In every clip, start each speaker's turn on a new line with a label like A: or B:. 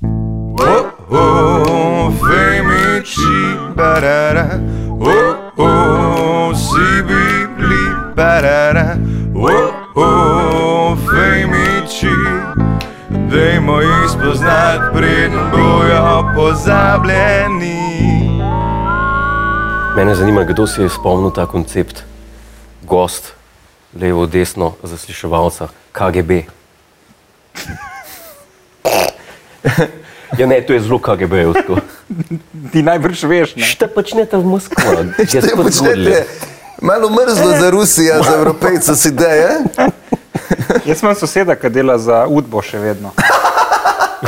A: Oh, parara, oh oh, si bibli parara, oh oh, fejmiči, dajmo jih spoznat, preden bojo pozabljeni.
B: Mene zanima, kdo si je spomnil ta koncept gost, levo, desno, zasliševalca, KGB. Ja, ne, to je zelo KGB-jevsko.
C: Ti najbrž veš, ne?
B: Šta počnete v Moskvi? Jaz
D: Te
B: pa
D: počnete malo mrzlo za Rusijo, za Evropejce si da, ja?
C: Jaz imam soseda, ki dela za Udbo še vedno.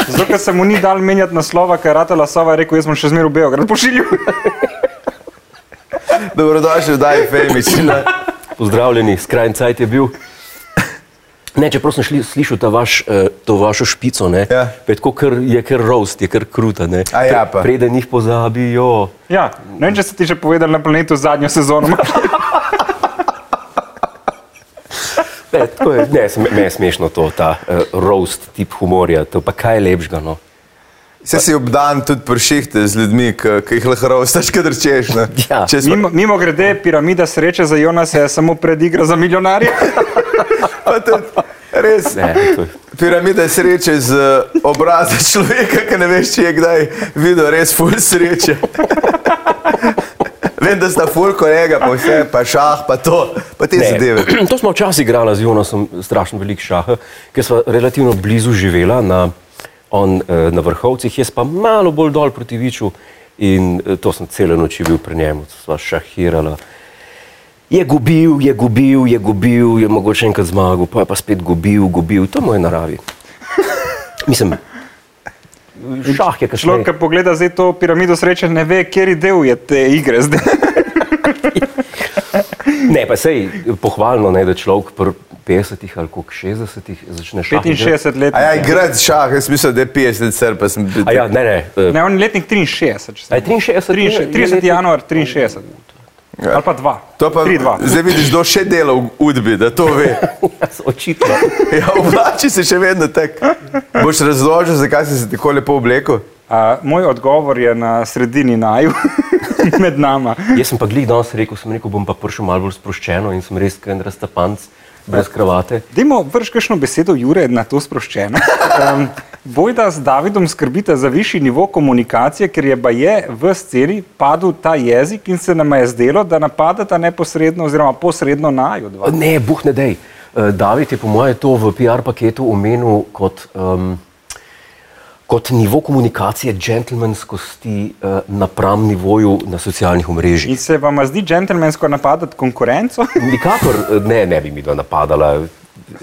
C: Zato, ker se mu ni dal menjati naslova, ker je ratala Sava, je rekel, jaz sem še zmeraj v Beograd pošiljal.
D: Dobrodošli v Daj Femičina.
B: Pozdravljeni, skrajni cajt je bil. Ne, čeprav sem šli, slišal ta vaš, eh, to vašo špico, ne,
D: Ja.
B: pa je, tako kar, je kar roast, je kar kruta. Ne.
D: A ja,
B: Pre-
D: pa.
B: Preden jih pozabijo.
C: Ja, ne vem, če ste ti že povedali na planetu zadnjo sezono.
B: Ne, tako je, ne, sme- me je smešno to, ta uh, roast tip humorja, to pa kaj je lepšega. No.
D: Se si obdan tudi pršihte z ljudmi, ki ki jih lahko rostaš, kadar češ. ne?
B: Ja.
D: Če smo-
C: Mimo, mimo grede, piramida sreče za Jonasa je samo predigra za milijonarje.
D: Pa tudi, Res.
B: Ne, to je,
D: Piramida sreče z eh, obraza človeka, ki ne veš, če je kdaj videl res ful sreče. Vem, da sta ful kolega, pa vse, pa šah, pa to, pa te zadeve.
B: ne. To smo včasih igrali z Jonasom, strašno velik šah, ker smo relativno blizu živela na, on, eh, na vrhovcih, jaz pa malo bolj dol proti Viču in eh, to sem cele noči bil pri njemu, sva šahirala. Je gubil, je gubil, je gubil, je mogoče enkrat zmagal, pa je pa spet gubil, gubil, to mu je v naravi. Mislim, šah je kašlo.
C: Človek, ki pogleda zdaj to piramido sreče, ne ve, kateri del je te igre zdaj.
B: Ne, pa sej pohvalno, ne, da človek pri 50-ih ali koliko 60-ih začne šah igrati.
C: 65 let.
D: A ja, igrati šah, jaz mislim, da je 50 ser, pa sem
B: A ja, ne, ne. eh,
C: Ne, ja. on je letnik 63. če se
B: A je 63?
C: 63, 30. januar 63. Ali pa 2.
D: Ja. To pa
C: 3-2.
D: zdaj vidiš, kdo še dela v udbi, da to ve.
B: Očitno.
D: Ja, oblači se še vedno tako. Boš razložil, zakaj si se tako lepo oblekel?
C: A, moj odgovor je na sredini naju, med nama.
B: Jaz sem pa glih danes rekel, sem rekel, bom pa prišel malo bolj sproščeno in sem res kaj raztapanc, brez kravate.
C: Dajmo vrš kakšno besedo, Jure, na to sproščeno. Um, Bojda s Davidom skrbite za višji nivo komunikacije, ker je baje v sceni padel ta jezik in se nam je zdelo, da napadata neposredno oziroma posredno naju dva.
B: Ne, buh ne dej. Eh, David je po mojem to v PR paketu omenil kot, um, kot nivo komunikacije džentlmenskosti uh, napram nivoju na socialnih omrežjih.
C: In se vam zdi džentlmensko napadati konkurenco?
B: Nikakor eh, ne, ne bi mi dva napadala.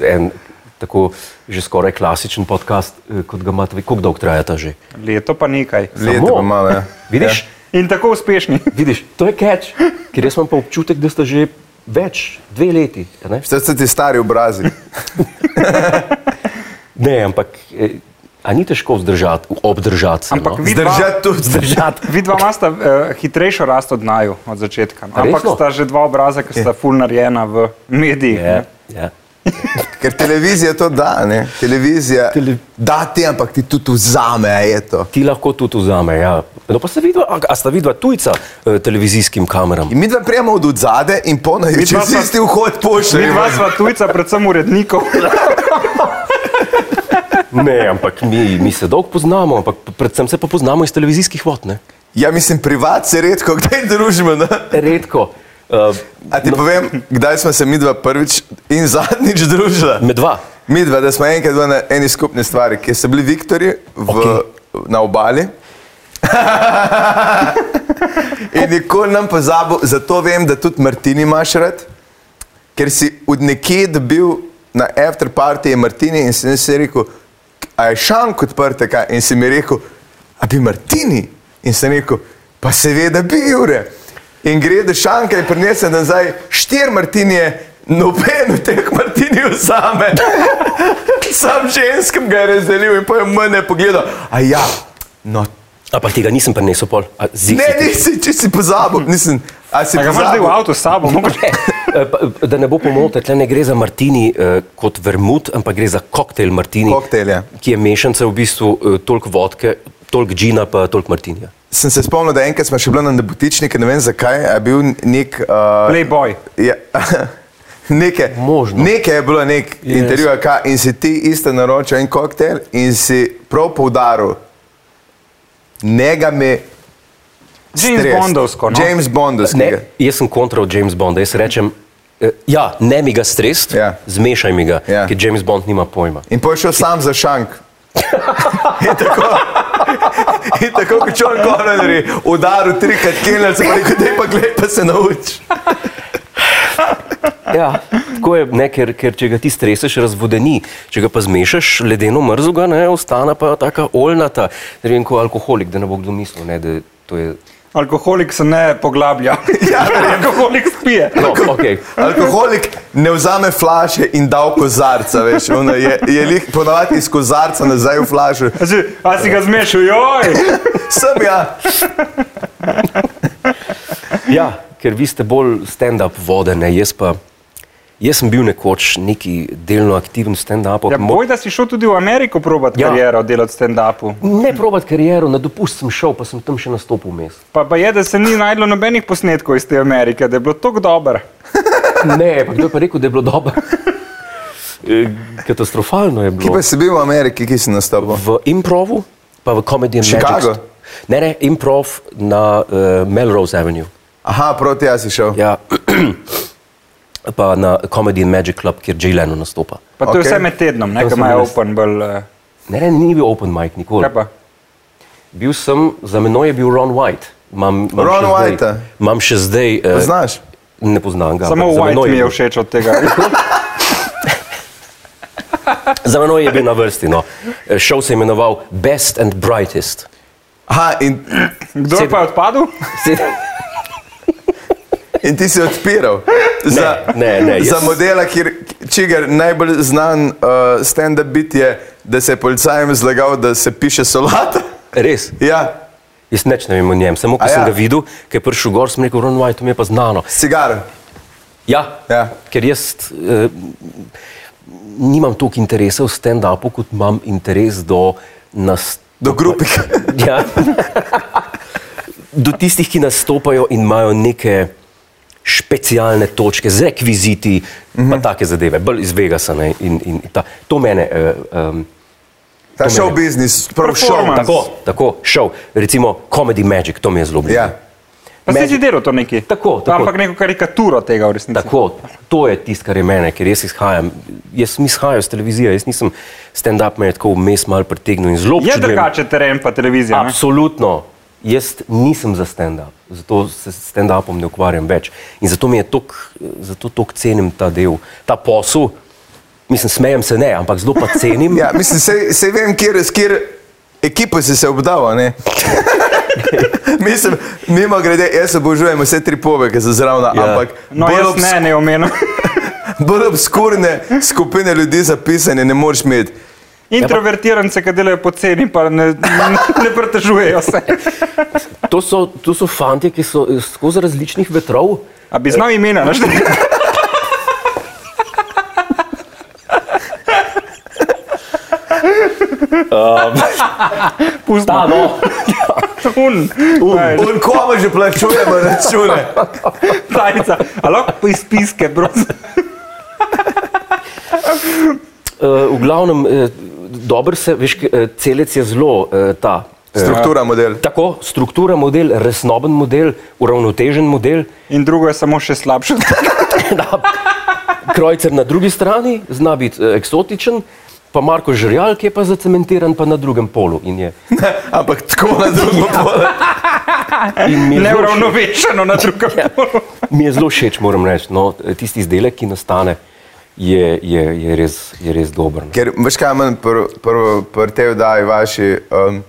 B: En tako že skoraj klasičen podcast, eh, kot ga imate. vi. Koliko dolg traja ta že?
C: Leto pa nekaj.
D: Leto pa malo, ja.
B: Vidiš,
C: In tako uspešni.
B: ja. vidiš, to je catch, ker jaz imam pa občutek, da sta že več, dve leti. a Ne,
D: Vse so ti stari obrazi.
B: ne ampak eh, a ni težko vzdržati, obdržati se.
C: Ampak
B: no?
C: vi-
D: Zdržati tudi.
B: Zdržati.
C: Vi dva imata uh, hitrejšo rast od naju od začetka. no. Ampak
B: Resno?
C: sta že dva obraza, ki sta full narejena v medijih.
B: Ja,
C: ne.
B: ja.
D: Ker televizija to da, ne? Televizija
B: Tele-
D: da ti, ampak ti tudi vzame, a je to.
B: Ti lahko tudi vzame. Ja. No, pa se vidva, a, a sta vidva tujca eh, televizijskim kameram.
D: In mi dva prijemo od zadaj in
C: Mi
D: ponaji, če
C: dva
D: si
C: pa-
D: isti vhod
C: Mi
D: pošljemo.
C: dva sva tujca, predvsem urednikov.
B: Ne, ampak mi, mi se dolgo poznamo, ampak predvsem se pa poznamo iz televizijskih vod. Ne?
D: Ja, mislim, privat se redko kdaj družimo. Ne?
B: Redko. Uh,
D: A ti no. povem, kdaj smo se mi dva prvič in zadnjič družila?
B: med dva.
D: Mi dva, da smo enkrat bili na eni skupni stvari, ki so bili Viktori v, okay.
B: Okej.
D: na obali. In nikoli nam pozabo, zato vem, da tudi Martini imaš rad, ker si od nekje dobil na after party Martini in si nisi rekel, a je šank odprte kaj in si mi rekel, a bi Martini in sem rekel, pa seveda bi Jure. In gre do šanka in prinese nazaj štiri Martinije, noben od teh Martinijev zame. Sam ženskem ga je razdelil in pa je mene pogledal, a ja, no
B: Ampak tega nisem prenesel pol. A, zi-
D: Ne, nisi, če si pozabil, nisem. A si
C: A ga imaš zdaj v
D: pozabil?
C: avtu s sabo? mogoče?
B: Eh, pa, Da ne bo pomote, tle ne gre za martini eh, kot vermut, ampak gre za koktejl martini,
D: Koktejl, ja.
B: ki je mešanica v bistvu eh, toliko vodke, toliko džina, pa toliko martinja.
D: Sem se spomnil, da enkrat smo še bili na nebotičniku, ne vem zakaj, a je bil nek. Uh,
C: Playboy.
D: Ja. Neke,
B: Možno.
D: neke je bilo nek yes. intervju, ali kaj, in si ti isto naročil en koktejl in si prav poudaril, ne ga mi.
C: James
D: stresti.
C: Bondovsko. No?
D: James Bondovskega.
B: Ne, jaz sem kontra od James Bonda, jaz rečem, eh, ja, ne mi ga strest,
D: Ja.
B: ja. zmešaj mi ga,
D: Ja.
B: ja. ker James Bond nima pojma.
D: In pol je šel sam za šank. In tako, in tako kot John Connery, udaril trikrat kilner, se rekel, da je pa gledaj, pa se nauči.
B: Ja, tako je, ne, ker, ker če ga ti streseš, razvodeni, če ga pa zmešaš, ledeno mrzlo, ne, ostane pa taka oljnata. Ne vem, kot alkoholik, da ne bo kdo mislil, ne, da to je.
C: Alkoholik se ne poglablja.
D: Ja,
C: Alkoholik spije.
B: No, okay.
D: Alkoholik ne vzame flaše in da v kozarca, veš, ono je, je lih ponavadi iz kozarca nazaj v flašo.
C: A si, a si ga zmešal, joj!
D: Sem ja,
B: Ja, ker vi ste bolj stand-up vodene, jaz pa. Jaz sem bil nekoč neki delno aktiven stand-up.
C: Ja, boj, da si šel tudi v Ameriko probat ja.
B: Ja.
C: kariero delati stand-upu.
B: Ne probat kariero, na dopust sem šel, pa sem tam še nastopil vmes.
C: Pa, pa je, da se ni najdlo nobenih posnetkov iz te Amerike, da je bilo tako dobro.
B: Ne, pa kdo je pa rekel, da je bilo dobro? Eh, Katastrofalno je
D: ki
B: bilo.
D: pa si bil v Ameriki, ki si nastopil.
B: V improvu, pa v Comedy and
D: Chicago?
B: Magic. Ne, ne, improv na uh, Melrose Avenue.
D: Aha, proti jaz si šel.
B: Ja. pa na Comedy and Magic Club, kjer Jay Leno nastopa.
C: Pa to okay. je
D: Okej.
C: vse med tednom,
B: To
C: nekaj
B: sem
C: imajo
B: res.
C: open bolj. eh,
B: Ne, ne, ni bil open mic nikoli.
C: Kaj pa?
B: Bil sem, za menoj je bil Ron White. Mam, mam
D: Ron
B: še zdaj-
D: Whitea?
B: Imam še zdaj. eh,
D: Znaš?
B: Ne poznam ga.
C: Samo
B: ampak za menoj
C: White mi je
B: bil-
C: všeč od tega.
B: Za menoj je bil na vrsti. No. Eh, Šov se je imenoval Best and Brightest.
D: Aha, in,
C: Kdo je
B: Sedem.
C: pa je odpadel?
B: Sedem-
D: in ti si odpiral. Za,
B: ne, ne,
D: za
B: jaz-
D: modela, kjer, čigar najbolj znan uh, stand-up bit je, da se je policajem zlagal, da se piše solata.
B: Res.
D: Ja,
B: Jaz neč ne vem o njem, samo ko
D: A
B: ja. sem
D: ja.
B: ga videl, ker je prišel gor, sem rekel, Ron White, to mi je pa znano.
D: cigar.
B: Ja,
D: Ja.
B: ker jaz eh, nimam toliko interesa v stand-upu, kot imam interes do nas.
D: Do grupika.
B: Ja. do tistih, ki nastopajo in imajo neke specialne točke z rekviziti, mm
D: Mhm.
B: -hmm. pa take zadeve, bolj iz Vegasa. ne, In, in ta, to mene. Eh, um,
D: Ta show business, prav show.
C: Performance.
B: tako, tako, šel, recimo Comedy Magic, to mi je zelo blizu.
D: Ja.
C: Pa si
B: Magic.
C: že delal to neki.
B: Tako, tako.
C: Ampak neko karikaturo tega v resnici.
B: Tako, to je tisto, kar je mene, ker jaz izhajam. Jaz mi izhajam iz televizije, jaz nisem stand-up, me je tako vmes malo pretegnil in zelo
C: Je
B: občudujem-
C: drugače teren pa televizija. ne?
B: Absolutno. Jaz nisem za stand-up, zato se s stand-upom ne ukvarjam več. In zato mi je tako, zato tako cenim ta del, ta posel. Mislim, smejem se ne, ampak zelo pa cenim.
D: Ja, mislim, sej, sej vem, kjer, s kjer ekipo si se obdal, a ne? mislim, mimo grede, jaz obožujem vse tri pove, ki so zraven,
B: Ja.
D: ampak
C: No,
D: bolj,
C: jaz ne, ne omenim.
D: bolj obskurne skupine ljudi zapisane ne moreš imeti.
C: Introvertirance, ki delajo poceni, pa ne, ne pretežujejo se.
B: To so, to so fanti, ki so eh, skozi različnih vetrov.
C: A bi znal imena, ne?
B: Ta, no, Um.
C: Un, kaj je že?
D: On koma že plačujemo račune.
C: Tajca. A lahko pa iz piske, prosim.
B: eh, v glavnem, eh, dober se, veš, ke, eh, celec je zelo eh, ta. eh,
D: Struktura model.
B: Tako, struktura model, resnoben model, uravnotežen model,
C: In drugo je samo še slabše.
B: da krojcer na drugi strani zna biti eh, eksotičen, pa Marko Žrjal, ki je pa zacementiran pa na drugem polu. In je,
D: Ampak tako na drugo pole.
B: in mi, je Ja. zelo všeč,
C: Neuravnovešeno na drugem. polu.
B: mi je zelo všeč, moram reči. No, tisti izdelek, ki nastane, je, je, je, res, je res dober. no.
D: Ker veš kaj manj prvo pr, pr, pr te vdaji vaši, um,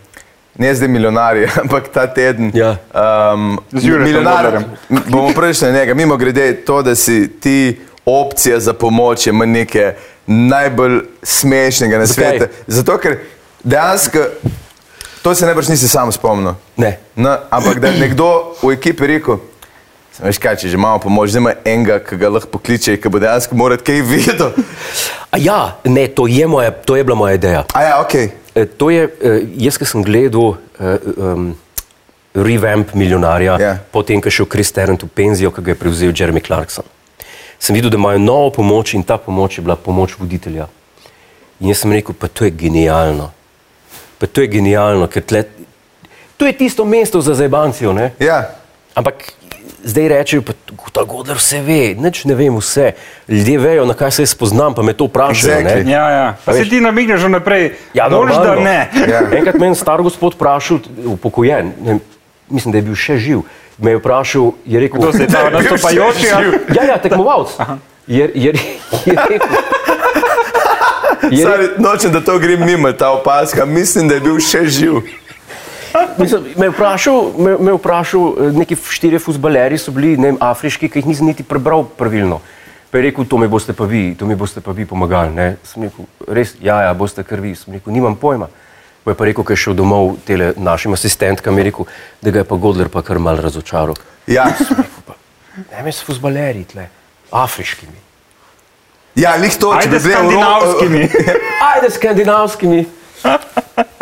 D: ne zdaj milijonarji, ampak ta teden.
B: Ja.
D: Um,
C: Z Juretom
D: milijonar,
C: Godlerjem.
D: bomo prišli na njega, mimo grede to, da si ti opcija za pomoč ima nekaj najbolj smešnega na
B: Zakaj?
D: svetu. Zato, ker dejansko, to se najbrž nisi sam spomnil.
B: Ne.
D: No, ampak da je nekdo v ekipi rekel, "Saj veš kaj, če že imamo pomoč, zdaj ima enega, ki ga lahko pokliče, ki bo dejansko moral kaj videti.
B: A ja, ne, to je, moja, to je bila moja ideja.
D: A ja, ok.
B: E, To je, e, jaz, ki sem gledal e, um, revamp
D: Ja.
B: milijonarja, yeah. potem, ko je šel Chris Tarrant v penzijo, ki ga je prevzel Jeremy Clarkson. Sem videl, da imajo novo pomoč in ta pomoč je bila pomoč voditelja. In jaz sem rekel, pa to je genialno. Pa to je genialno, ker tle, to je tisto mesto za zajbancijo, ne?
D: Ja,
B: Ampak zdaj rečejo, da Godler vse ve, nič ne vem vse. Ljudje vejo, na kaj se jaz spoznam, pa me to vprašajo.
D: Exactly.
B: Exactly.
C: Ja, ja. Pa se
B: veš-
C: ti namigneš že naprej.
B: Ja,
C: Moraš, da
B: normalno.
C: ne.
D: Ja.
B: Enkrat me je en star gospod vprašal, upokojen, ne, mislim, da je bil še živ. Me je vprašal, je rekel,
C: To se je ta nastopajoči. a?
B: Ja, ja, tekmovalc. Je, je, je rekel, je,
D: Sorry,
B: rekel,
D: nočem, da to gre mimo, ta opaska. Mislim, da je bil še živ.
B: mislim, me je vprašal, me, me je vprašal eh, neki štirje fusbaleri so bili, ne vem, afriški, ki jih nisem niti prebral pravilno. Pa je rekel, to mi boste pa vi, to mi boste pa vi pomagali. Ne? Sem rekel, res, ja, ja, boste kar vi. Sem rekel, nimam pojma. Pa je pa rekel, ker je šel domov tele našim asistentkam, je rekel, da ga je pa Godler pa kar mal razočaral.
D: Ja,
B: Ne, me so fusbaleri tle, afriškimi.
D: ja lih to, če
C: Ajde
D: bi
C: s
D: bili v Ro-
C: skandinavskimi.
B: Ajde, skandinavskimi.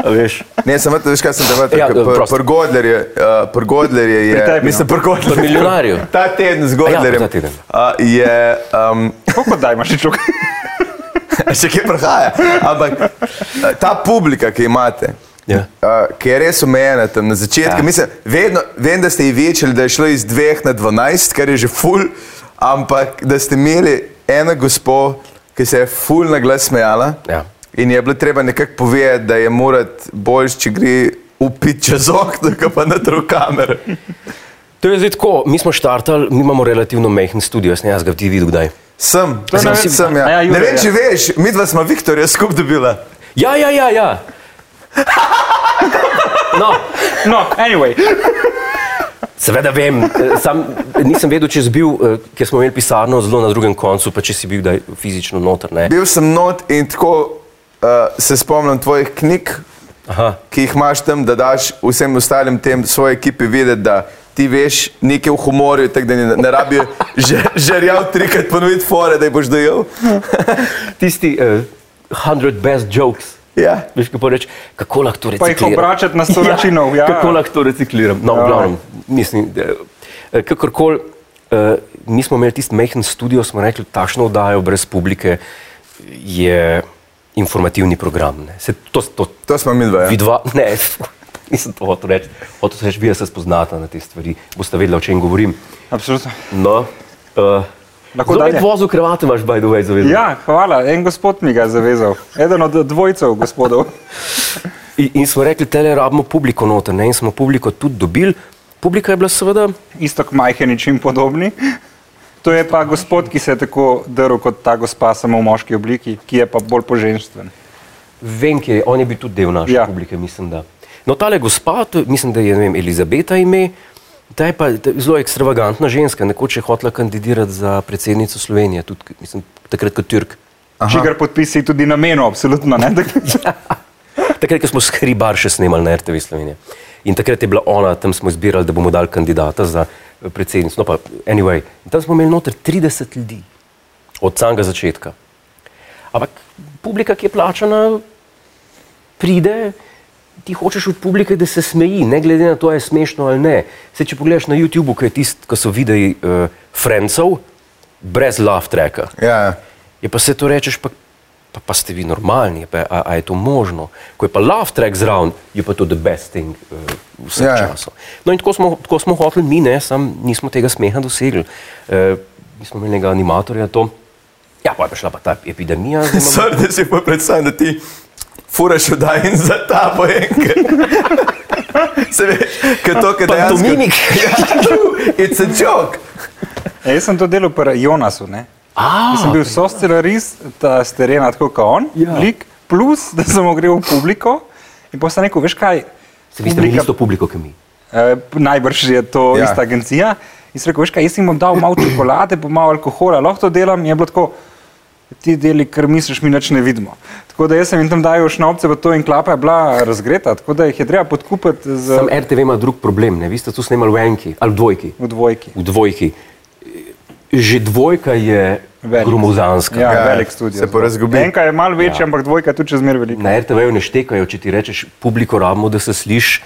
B: A Veš,
D: Ne, samo to, veš, kaj sem te
B: Ja,
D: rekel.
B: prosim.
D: Prgodler je, uh, prgodler je, je
C: tebi, no.
D: mislim, prgodler
B: Pri milijonarju.
D: Ta teden z Godlerjem
B: A ja, ta teden.
D: uh, je, um,
C: Kako daj imaš čuk?
D: še kje prihaja, ampak eh, ta publika, ki jo imate,
B: Ja.
D: uh, ki je res omejena tam na začetku,
B: Ja.
D: ja. mislim, vedno, vem, da ste ji večali, da je šlo iz dveh na dvanajst, kar je že ful, ampak da ste imeli eno gospo, ki se je ful na glas smejala.
B: Ja.
D: In je bilo treba nekako povedati, da je morat bolj, če gre upiti čez okno, kot pa na drug kamer.
B: to je zdaj tako, mi smo štartali, mi imamo relativno majhen studio, jaz ne jaz ga ti videl kdaj.
D: Sem,
C: ne
D: sem,
C: vem.
D: sem,
C: A
D: ja.
C: ja, Jure,
D: ne vem,
C: ja.
D: če veš, mi dva smo Viktorja skupaj dobila.
B: Ja, ja, ja, ja. No,
C: No, anyway.
B: seveda vem, eh, sam nisem vedel, če si bil, eh, ker smo imeli pisarno zelo na drugem koncu, pa če si bil kdaj fizično noter, ne.
D: Bil sem not in tako uh, se spomnim tvojih knjig,
B: Aha.
D: ki jih imaš tam, da daš vsem ostalim tem svoji ekipi videti, da ti veš nekaj v humorju, tako da ne, ne rabijo že- žerjav trikrat ponoviti fore, da jih boš dojel.
B: Tisti eh, 100 best jokes.
D: Ja.
B: Veš, kako reči, kako lahko to
C: Pa jih
B: recikliram.
C: obračati na sto načinov. Ja.
B: Kako lahko to recikliram? No,
C: Ja.
B: v glavnem, mislim, da, eh, kakorkoli, eh, mi smo imeli tisti majhen studio, smo rekli, takšno oddajo brez publike je informativni program. Ne. Se, to, to,
D: To smo mi dva. Ja.
B: vi dva, ne, nisem to hotel reči. Hotel sem reči, vi se spoznate na te stvari, boste vedeli, o čem govorim.
C: Absolutno.
B: No, uh,
C: Lahko dalje?
B: vozu kravate imaš, by the way, zavedam.
C: Ja, hvala. En gospod mi ga je zavezal. Eden od dvojcev gospodov.
B: In, in smo rekli, tele rabimo publiko noter, ne, in smo publiko tudi dobili. Publika je bila seveda
C: Istok majhen in čim podobni. To je pa gospod, ki se je tako drl kot ta gospa, samo v moški obliki, ki je pa bolj poženstven.
B: Vem, kje je, on je bil tudi del naše
C: Ja.
B: ja. publike, mislim, da. No, tale gospa, to, je- mislim, da je ne vem, Elizabeta ime, ta je pa ta, zelo ekstravagantna ženska, nekoč je hotela kandidirati za predsednico Slovenije, tudi, k- mislim, takrat kot Turk.
C: Čigar podpisi tudi na menu, absolutno. Ne? Ja, Tako-
B: Takrat, ko smo skribar še snemali na RTV Slovenije. In takrat je bila ona, tam smo izbirali, da bomo dali kandidata za eh, predsednico. No, pa, anyway, in tam smo imeli noter 30 ljudi, od samega začetka. Ampak publika, ki je plačana, pride, ti hočeš od publike, da se smeji, ne glede na to, ali je smešno ali ne. Se, če pogledaš na YouTubu, ki je tisti, ki so videi uh, Francov, brez laugh tracka.
D: Ja, ja.
B: Je pa se to rečeš, pa, pa, pa ste vi normalni, pa, a, a je to možno. Ko je pa love track zraven, je pa to the best thing uh, vseh
D: Ja,
B: yeah.
D: ja.
B: časov. No in tako smo, tako smo hoteli mi, ne, sam nismo tega smeha dosegli. Uh, mi smo imeli nekega animatorja to. Ja, pa je prišla pa ta epidemija. zdaj imamo-
D: Sorry, da si pa predstavljam, da ti furaš vdaj in za ta pojenke. Se veš, kaj to, kaj dejansko...
B: Pantomimik.
D: Ja, it's a joke.
C: Ja, jaz sem to delal pri Jonasu. Ne?
B: A,
C: Jaz sem bil soscenarist ta s terena, tako kot on, ja.
B: Ja.
C: lik, plus da sem ogrel v publiko in potem sem rekel, veš kaj,
B: Se vi ste imeli isto publiko, kot mi.
C: eh, najbrž je to ja.
D: Ja.
C: ista agencija. In sem rekel, veš kaj, jaz jim bom dal malo čokolade, pa malo alkohola, lahko to delam. In je bilo tako, ti deli, kar misliš, mi nič ne vidimo. Tako da jaz sem jim tam dajal šnopce, pa to in klapa je bila razgreta, tako da jih je treba podkupiti z
B: Sam RTV ima drug problem, ne? vi ste tu snemali v enki ali v dvojki.
C: v dvojki.
B: v dvojki. Že dvojka je
C: Velik.
B: gromozanska.
C: Ja,
D: Ja,
C: velik studio.
D: se porazgubi.
C: Enka je malo večja, ja. ampak dvojka tu čez mer velika.
B: Na RTV-ju ne štekajo, če ti rečeš, publiko rabimo, da se slišiš.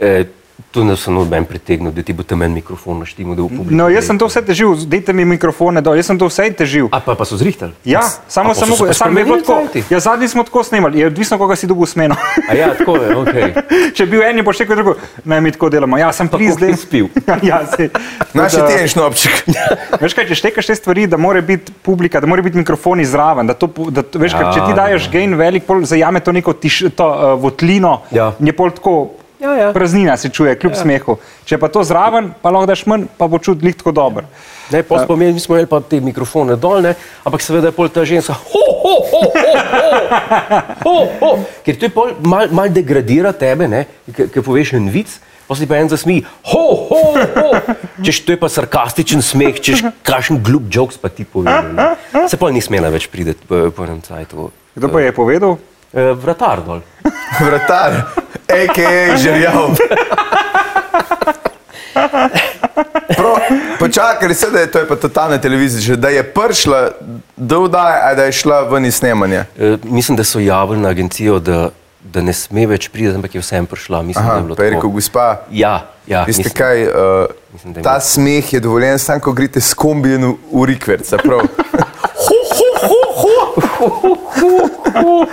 B: Eh, to ne sem noben pritegnil, da ti bo temen mikrofon naštimo, da bo publiko.
C: No, jaz sem to vse težil, dajte mi mikrofone dol, jaz sem to vse težil.
B: A pa, pa so zrihtali.
C: Ja, samo,
B: A pa so
C: samo,
B: se pa
C: samo je bilo
B: spremenili
C: tako.
B: cajti?
C: Ja, zadnji smo tako snemali, je odvisno, koga si dobil smeno.
B: A ja, tako je, okej.
C: Če bi bil en, je pa še kaj drugo. Naj mi tako delamo. Ja, sem
B: Pa koliko
C: prizdel.
B: si spil?
C: ja, sej.
D: Naš je
C: Tako da-
D: ti en šnopček.
C: Veš kaj, če štekaš te stvari, da mora biti publika, da mora biti mikrofoni zraven, da to, pu- da, to- veš,
B: Ja,
C: kaj, če ti daješ gain velik, pol zajame to neko tiš, to, uh, votlino,
B: Ja.
C: je pol tako
B: Ja, ja.
C: praznina se čuje, kljub ja. smehu. Če pa to zraven, pa lahko daš manj, pa bo čut lih tako dober.
B: Ne,
D: Ja.
B: pol smo imeli, mi smo imeli pa te mikrofone dolne, ampak seveda je pol ta ženska, ho, ho, ho, ho, ho, ho, ho. ker to je pol mal, mal degradira tebe, ne, ker ker poveš en vic, pa si pa en zasmi, ho, ho, ho, češ to je pa sarkastičen smeh, češ kakšen glup joks pa ti pove. ne. Se pol ni smela več priti po po enem cajtu.
C: Kdo pa je povedal?
B: Eh, Vratar dol.
D: Vratar, a.k.a. žerjav. Pro, počakaj, se da je to je pa totalna televizija, že da je prišla do vdaje, a da je šla ven iz snemanja.
B: Eh, Mislim, da so javili na agencijo, da, da ne sme več priti, ampak je vsem prišla. Mislim, da
D: Aha,
B: je bilo
D: pa je rekel,
B: tako.
D: gospa,
B: Ja, ja,
D: veste
B: mislim.
D: kaj, uh,
B: Mislim, da je
D: ta
B: bilo-
D: smeh je dovoljen, samo ko greste s kombijem v- v rikverca, prav.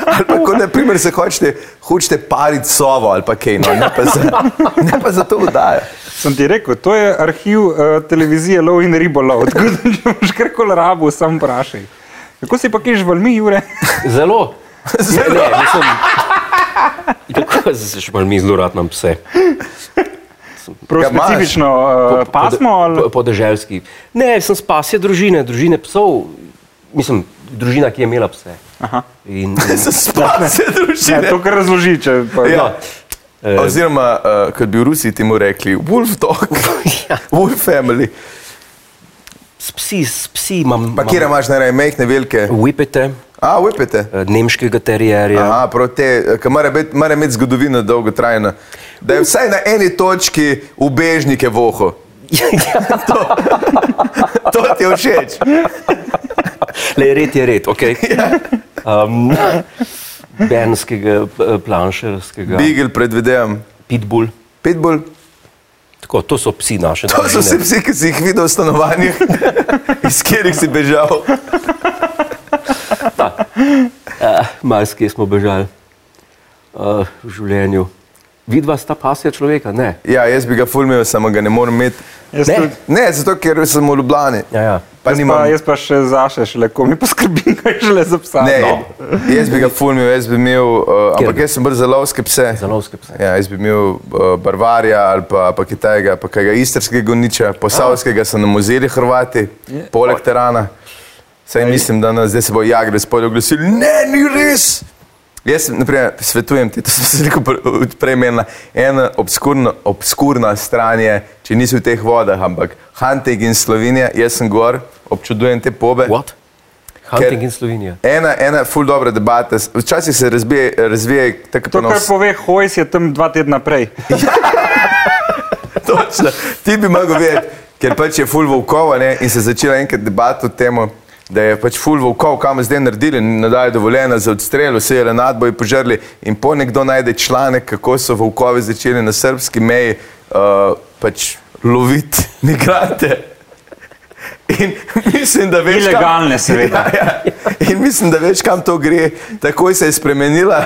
D: Ali pa, ko naprimer se hočete, hočete pariti sovo ali pa kaj, no, ne pa za, ne pa za to vdaje.
C: Sem ti rekel, to je arhiv uh, televizije Lov in Ribolov, tako da če boš karkoli rabo, sam vprašaj. Kako si pa kiš valmi, Jure?
B: Zelo. Zelo. Ne, ne, mislim, tako se še malo mi zelo rad nam pse.
C: Eh, Prav
D: Ga imaš?
C: specifično
B: Po-
C: uh,
B: po-
C: pasmo ali?
B: po- Podeželski. Ne, sem spasje družine, družine psov. Mislim, družina, ki je imela pse.
C: Aha.
B: In,
D: Se spase
C: Ne,
D: družine.
C: to kar razloži, če pa
D: Ja.
B: no, eh,
D: Oziroma, uh, kot bi v Rusiji temu rekli, Wolf Dog, Ja. Wolf Family.
B: s psi, s psi imam.
D: Pa kje imaš najraje mehne velike?
B: Whipete, eh,
D: A, upite.
B: nemškega terjerja.
D: Aha, prav te, ki mora, biti- mora imeti zgodovino dolgotrajno. Da je vsaj na eni točki ubežnike voho.
B: Ja,
D: to, to ti je všeč.
B: Le red je red, ok.
D: Ja.
B: Um, Benskega, eh, planšerskega,
D: Beagle predvidevam.
B: pitbull.
D: Pitbull.
B: Tako, to so psi naše.
D: To so vsi psi, ki si jih videl v stanovanjih, iz katerih si bežal.
B: Uh, Malski smo bežali uh, v življenju. Vidva sta pasja človeka, ne.
D: Ja, jaz bi ga fulmil, samo ga ne morem imeti.
C: jaz
B: Ne.
C: tudi.
D: Ne, zato ker sem v Ljubljani.
B: Ja, ja.
D: Pa
C: Jaz pa,
D: nimam.
C: jaz pa še zaše, šele ko mi poskrbim, kaj šele za psa. No.
D: Ne, no. jaz bi ga fulmil, jaz bi imel, uh,
B: Kjer
D: ampak
B: bi?
D: jaz sem bolj za lovske pse.
B: Za lovske pse.
D: Ja, jaz bi imel uh, Barvarja ali pa, pa Kitajega, pa kajega istrskega goniča, posavskega so nam vzeli Hrvati, poleg terana. Saj mislim, da nas zdaj se bo jagre spodaj oglasili. Ne, ni res! Jaz, na primer, svetujem ti, to sem se rekel pre- prej menila, ena obskurna, obskurna stran je, če nisi v teh vodah, ampak Hantek in Slovenija, jaz sem gor, občudujem te pobe.
B: What? Hunting Ker... in Slovenija.
D: Ena, ena ful dobra debata, s- včasih se razbije, razvije tako
C: To, kar
D: prenos.
C: pove Hojs, je tam dva tedna prej.
D: Točno, ti bi mogel vedeti, ker pač je ful volkova ne, in se je začela enkrat debata o tem, da je pač ful volkov, kam zdaj naredili, ne dajo dovoljena za odstrel, vse je renat boji požrli in po nekdo najde članek, kako so volkovi začeli na srpski meji uh, pač loviti migrante. In mislim, da veš, kam-
C: Ilegalne, seveda.
D: Ja, ja. In mislim, da veš, kam to gre. Takoj se je spremenila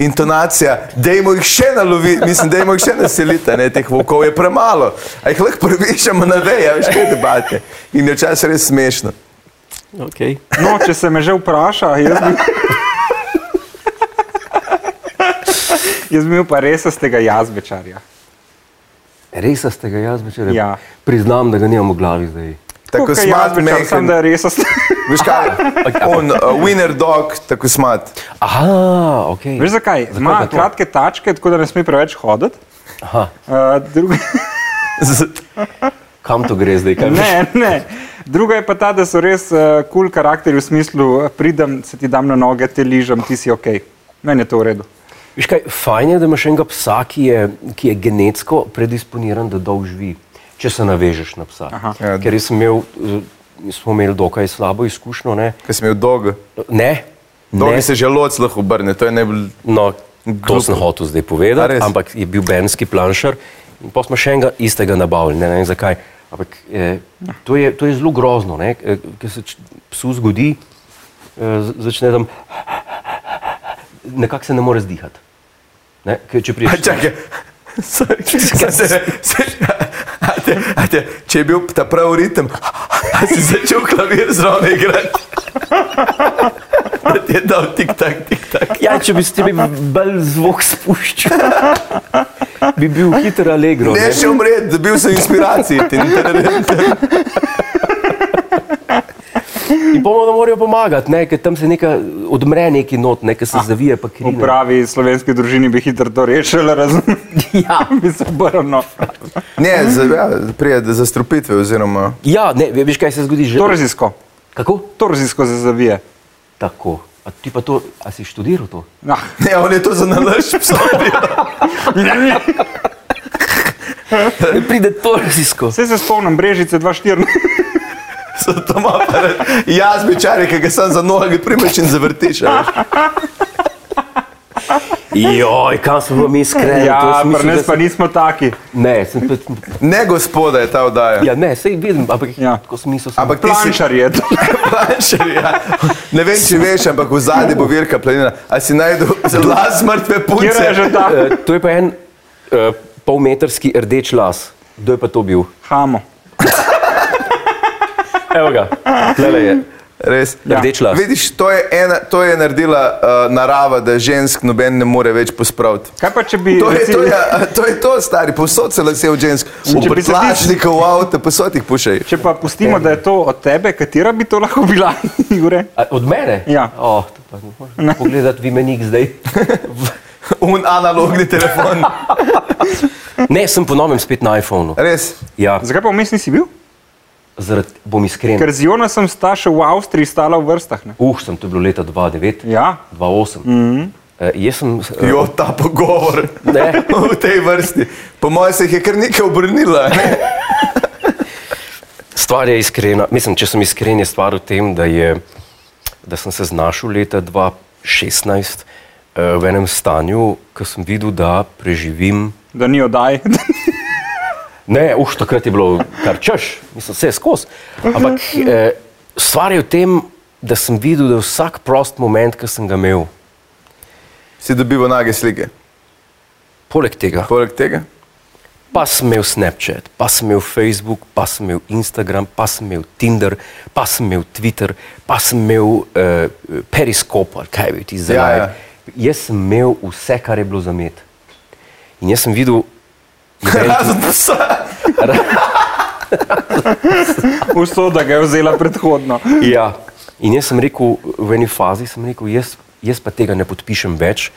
D: intonacija, da jim jih še naloviti, mislim, da jim jih še naseliti, ne teh vokov je premalo. A jih lahko previšamo na veje, a veš, kaj debate. In je včasih res smešno.
B: Okay.
C: No, če se me že vpraša, jaz bi. Jaz bi imel pa res z tega jazbečarja.
B: Res ste ga jaz večer.
C: Ja.
B: Priznam, da ga nimam v glavi zdaj.
D: Tako
C: Tukaj
D: smat
C: jazbečar, Samo
D: mehko.
C: da ja. je res z tega.
D: Veš kaj, on, uh, winner dog, tako smat.
B: Aha, ok.
C: Veš zakaj? Ima
B: zato?
C: kratke tačke, tako da ne sme preveč hoditi.
B: Aha,
C: Uh, druga...
B: kam to gre zdaj? Kaj veš?
C: Ne, ne. Druga je pa ta, da so res kul uh, cool karakteri v smislu, eh, pridem, se ti dam na noge, te ližem, ti si ok. Meni je to v redu.
B: Veš kaj, fajn je, da imaš enega psa, ki je, ki je genetsko predisponiran, da dolg živi, če se navežeš na psa.
C: Aha.
B: Ker jaz sem imel eh, smo imeli dokaj slabo izkušnjo. Ne,
D: Ker sem imel dolgo.
B: ne,
D: Dolgo
B: ne
D: se želodc lahko obrne, to je najbolj...
B: No,
D: Glupo.
B: to sem hotel zdaj
D: A
B: povedati,
D: res?
B: ampak je bil benski planšar in pa smo še enega istega nabavili, ne, ne vem zakaj. Ampak eh, to, je, to je zelo grozno, ne, eh, ker se č- psu zgodi, eh, z- začne tam, nekako se ne more zdihati. Ne, ker če
D: A
B: priješ,
D: čakaj, sorry, sem se- se- a te- a te- če je bil ta pravi ritem, a si začel klavir zraven igrati. Da ti je dal tik tak, tik tak.
B: ja, če bi s tebi bolj zvok spuščal, bi bil hiter alegro.
D: Ne
B: Ne,
D: še umret, dobil sem inspiracije. Tin, tin, tin, tin.
B: In pomalo morajo pomagati, ne, ker tam se neka odmre neki not, ne,
D: Ah.
B: ker se zavije pa
C: V
B: krivi.
C: pravi slovenski družini bi hitro to rešili, razumem. Ja, bi se obrnil.
D: Ne, za, ja, prije do zastrupitve oziroma...
B: Ja, ne, ve- veš, kaj se zgodi že.
C: Torzijsko.
B: Kako?
C: Torzijsko se zavije.
B: Tako. A ti pa to, a si študiral to?
C: Ah,
D: Ne, on je to za nalaž psa.
B: Pride to raziskovati.
C: Vse se spomnim, brežice 2-4.
D: Zato ima pa rad. Jaz bi čarek, ki ga sam za noge primeš in zavrtiš. a veš.
B: Joj, kam smo bili mi iskreni? to
C: Ja,
B: jaz mislim,
C: pri
B: da
C: nas
B: sem-
C: pa nismo taki.
B: Ne, sem tudi...
D: Ne, gospoda je ta oddaja.
B: Ja, ne, sej vidim, ampak
C: Ja.
B: ja. tako sem mislil. sem-
D: Ampak ti si,
C: Planšar je.
D: Planšar, ja. Ne vem, če veš, ampak v zadnji bo velika planina. A si najdel las mrtve punce?
C: Kjer je že ta?
B: Eh, to je pa en uh, polmetrski rdeč las. Kdo je pa to bil?
C: Hamo.
B: Evo ga, tlele je.
D: Res.
C: Ja.
B: Rdeč las.
D: Vidiš, to je, ena, to je naredila uh, narava, da žensk noben ne more več pospraviti.
C: Kaj pa če bi...
D: To je to,
C: recimo-
D: ja, a, to je to, stari, povsod se lase v žensk.
C: Če
D: V
C: bi se ti-
D: prtlačniku, v avtu, povsod jih pušaj.
C: Če pa pustimo, da je to od tebe, katera bi to lahko bila, Jure?
B: A, od mene?
C: Ja.
B: Oh, to pa ne morem pogledati v imenik zdaj.
D: Un analogni telefon.
B: Ne, sem ponovim spet na iPhonu.
D: Res.
B: Ja,
C: Zakaj pa vmes nisi bil?
B: zaradi, bom iskren.
C: Ker z Jonasom sta še v Avstriji stala v vrstah. Ne?
B: Uh, sem to bil leta 2009,
C: Ja.
B: 2008. Mm -hmm. uh, jaz sem... eh,
D: Jo, ta pogovor.
B: Ne.
D: V tej vrsti. Po mojem se jih je kar nekaj obrnila. Ne?
B: Stvar je iskrena. Mislim, če sem iskren, je stvar v tem, da, je, da sem se znašel leta 2016 eh, v enem stanju, ko sem videl, da preživim.
C: Da ni odaj.
B: Ne, už takrat je bilo kar češ, mislim, vse skozi. Ampak eh, stvar je v tem, da sem videl, da vsak prost moment, ki sem ga imel,
D: Si dobival nage slike.
B: poleg tega,
D: Poleg tega.
B: pa sem imel Snapchat, pa sem imel Facebook, pa sem imel Instagram, pa sem imel Tinder, pa sem imel Twitter, pa sem imel uh, Periscope, ali kaj bi ti zdaj.
D: Ja, ja.
B: Jaz sem imel vse, kar je bilo za med. In jaz sem videl,
D: Razen psa.
C: Vso, da ga je vzela predhodno.
B: ja. in jaz sem rekel, v eni fazi sem rekel, jaz, jaz pa tega ne podpišem več,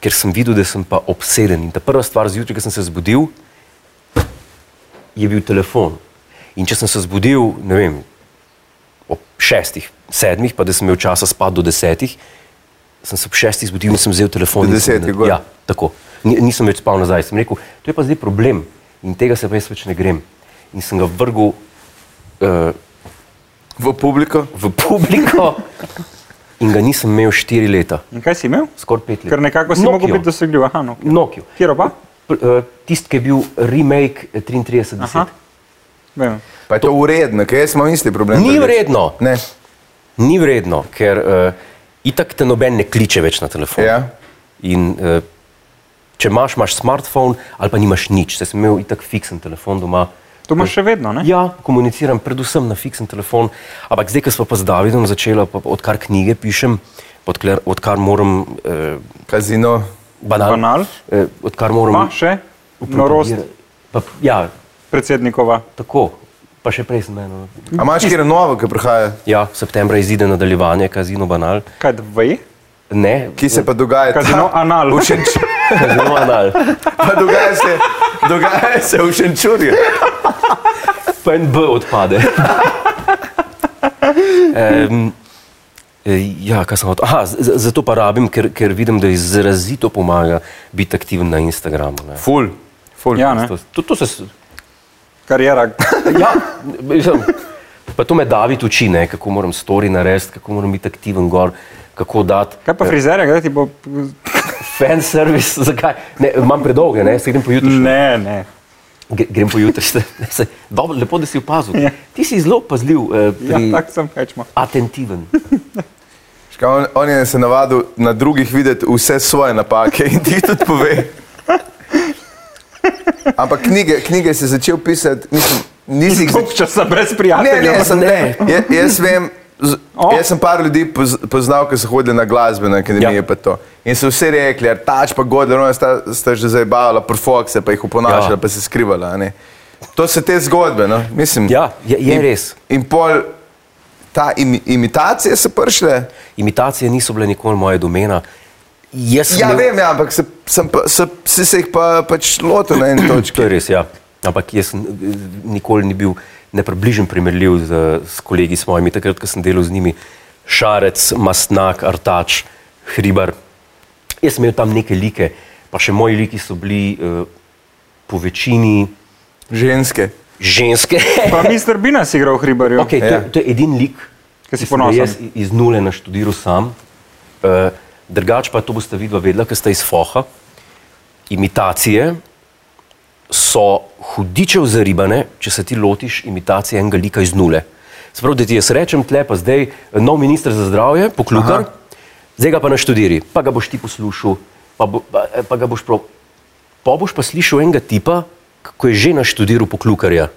B: ker sem videl, da sem pa obseden. In ta prva stvar zjutraj, ko sem se zbudil, je bil telefon. In če sem se zbudil, ne vem, ob šestih, sedmih, pa da sem imel časa spati do desetih, sem se ob šestih zbudil in sem vzel telefon.
D: Do
B: in sem-
D: desetih gor.
B: Ja, tako. Ni- Nisem več spal nazaj. Sem rekel, to je pa zdaj problem in tega se pa jaz več ne grem. In sem ga vrgel uh,
D: V publiko.
B: v publiko in ga nisem imel štiri leta,
C: In kaj si imel?
B: skoraj pet let.
C: Ker nekako si
B: Nokio.
C: mogel biti dosegljiv. Aha, no.
B: Nokio.
C: Kjer pa?
B: Pr- eh, Tisti, ki je bil remake eh, 3310.
C: Aha. Vem.
D: Pa je to uredno, ker jaz imam isti problem.
B: Ni
D: drugače.
B: vredno.
D: Ne.
B: Ni vredno, ker uh, itak te noben ne kliče več na telefon.
D: Ja.
B: In, uh, če imaš, imaš smartphone ali pa nimaš nič, se sem imel itak fiksen telefon doma.
C: To imaš še vedno, ne?
B: Ja, komuniciram predvsem na fiksen telefon, ampak zdaj, ko smo pa z Davidom začela, pa odkar knjige pišem, pa odkler, odkar moram eh,
D: Kazino.
B: banal,
C: Banal?
B: eh, odkar
C: Pa
B: moram
C: še? Norost
B: upropagira- Pa, ja,
C: predsednikova.
B: tako, pa še prej sem eno.
D: A imaš kjer novo, ki prihaja?
B: Ja, septembra izide nadaljevanje Kazino Banal.
C: Kaj dve?
B: Ne,
D: Ki se pa dogaja? ta-
C: Kazino anal.
D: V Šenč-
B: Kazino Banal.
D: pa dogaja se, dogaja se v Šenčurju.
B: pa en B odpade. um, ja, kaj sem hotel? Aha, z- z- zato pa rabim, ker, ker vidim, da izrazito pomaga biti aktiven na Instagramu. Ne.
D: Ful. Ful.
C: Ja, ne.
B: To, to se. s-
C: Karijera.
B: Ja, mislim, Pa to me David uči, ne, kako moram stori narediti, kako moram biti aktiven gor, kako dati.
C: Kaj pa frizerja, kdaj ti bo...
B: Fan service, zakaj? Ne, imam predolge, ne, se grem pojutrišnje.
C: Ne, ne.
B: Gre- Grem pojutrišnje. Ne, saj, Dobro, lepo, da si opazil.
C: Ja.
B: Ti si zelo pazljiv, eh,
C: Ja,
B: pri...
C: tak sem, hečmo.
B: atentiven.
D: Škoda, On, on je se navadil na drugih videti vse svoje napake in ti tudi pove. Ampak knjige, knjige si začel pisati, mislim, nisi jih začel.
C: Koliko časa brez
D: Ne,
C: prijateljev?
D: ne, sem, ne. Je, jaz vem, z,
C: O.
D: jaz sem par ljudi poz, poznal, ki so hodili na glasbene akademije,
B: Ja.
D: ja. pa to. In so vsi rekli, "Ja, tač pa Gordon, ona sta, sta že zabavala profokse, pa jih oponašala, ja.
B: Ja.
D: pa se skrivala. a ne. To so te zgodbe, no? mislim.
B: Ja, je, je
D: in,
B: res.
D: In pol, ta im, imitacije so prišle.
B: Imitacije niso bile nikoli moja domena. Jaz sem
D: Ja,
B: imel-
D: vem, ja, ampak se, sem, pa, se, se, se jih pa, pač lotil na eni
B: To
D: točki.
B: je res, ja. Ampak jaz n- nikoli ni bil nepribližen primerljiv z, s kolegi s mojimi, takrat, ko sem delal z njimi, Šarec, Mastnak, Artač, Hribar. Jaz sem imel tam neke like, pa še moji liki so bili uh, po večini
D: Ženske.
B: ženske.
C: Pa mister Bina si igral v Hribarju.
B: okay, to,
D: Ja.
B: je- to je edin lik,
C: Ki si
B: sem ga
C: ponosen.
B: Jaz i- iz nule naštudiral sam. Uh, drugač pa to boste vidva vedela, ker ste iz Foha. Imitacije so hudičev zaribane, če se ti lotiš imitacije enega lika iz nule. Sprav, da ti jaz rečem, tle pa zdaj eh, nov minister za zdravje, poklukar, zdaj ga pa naštudiri, pa ga boš ti poslušal, pa, bo, pa, eh, pa ga boš prav. Pa boš pa slišal enega tipa, ko je že naštudiral poklukarja.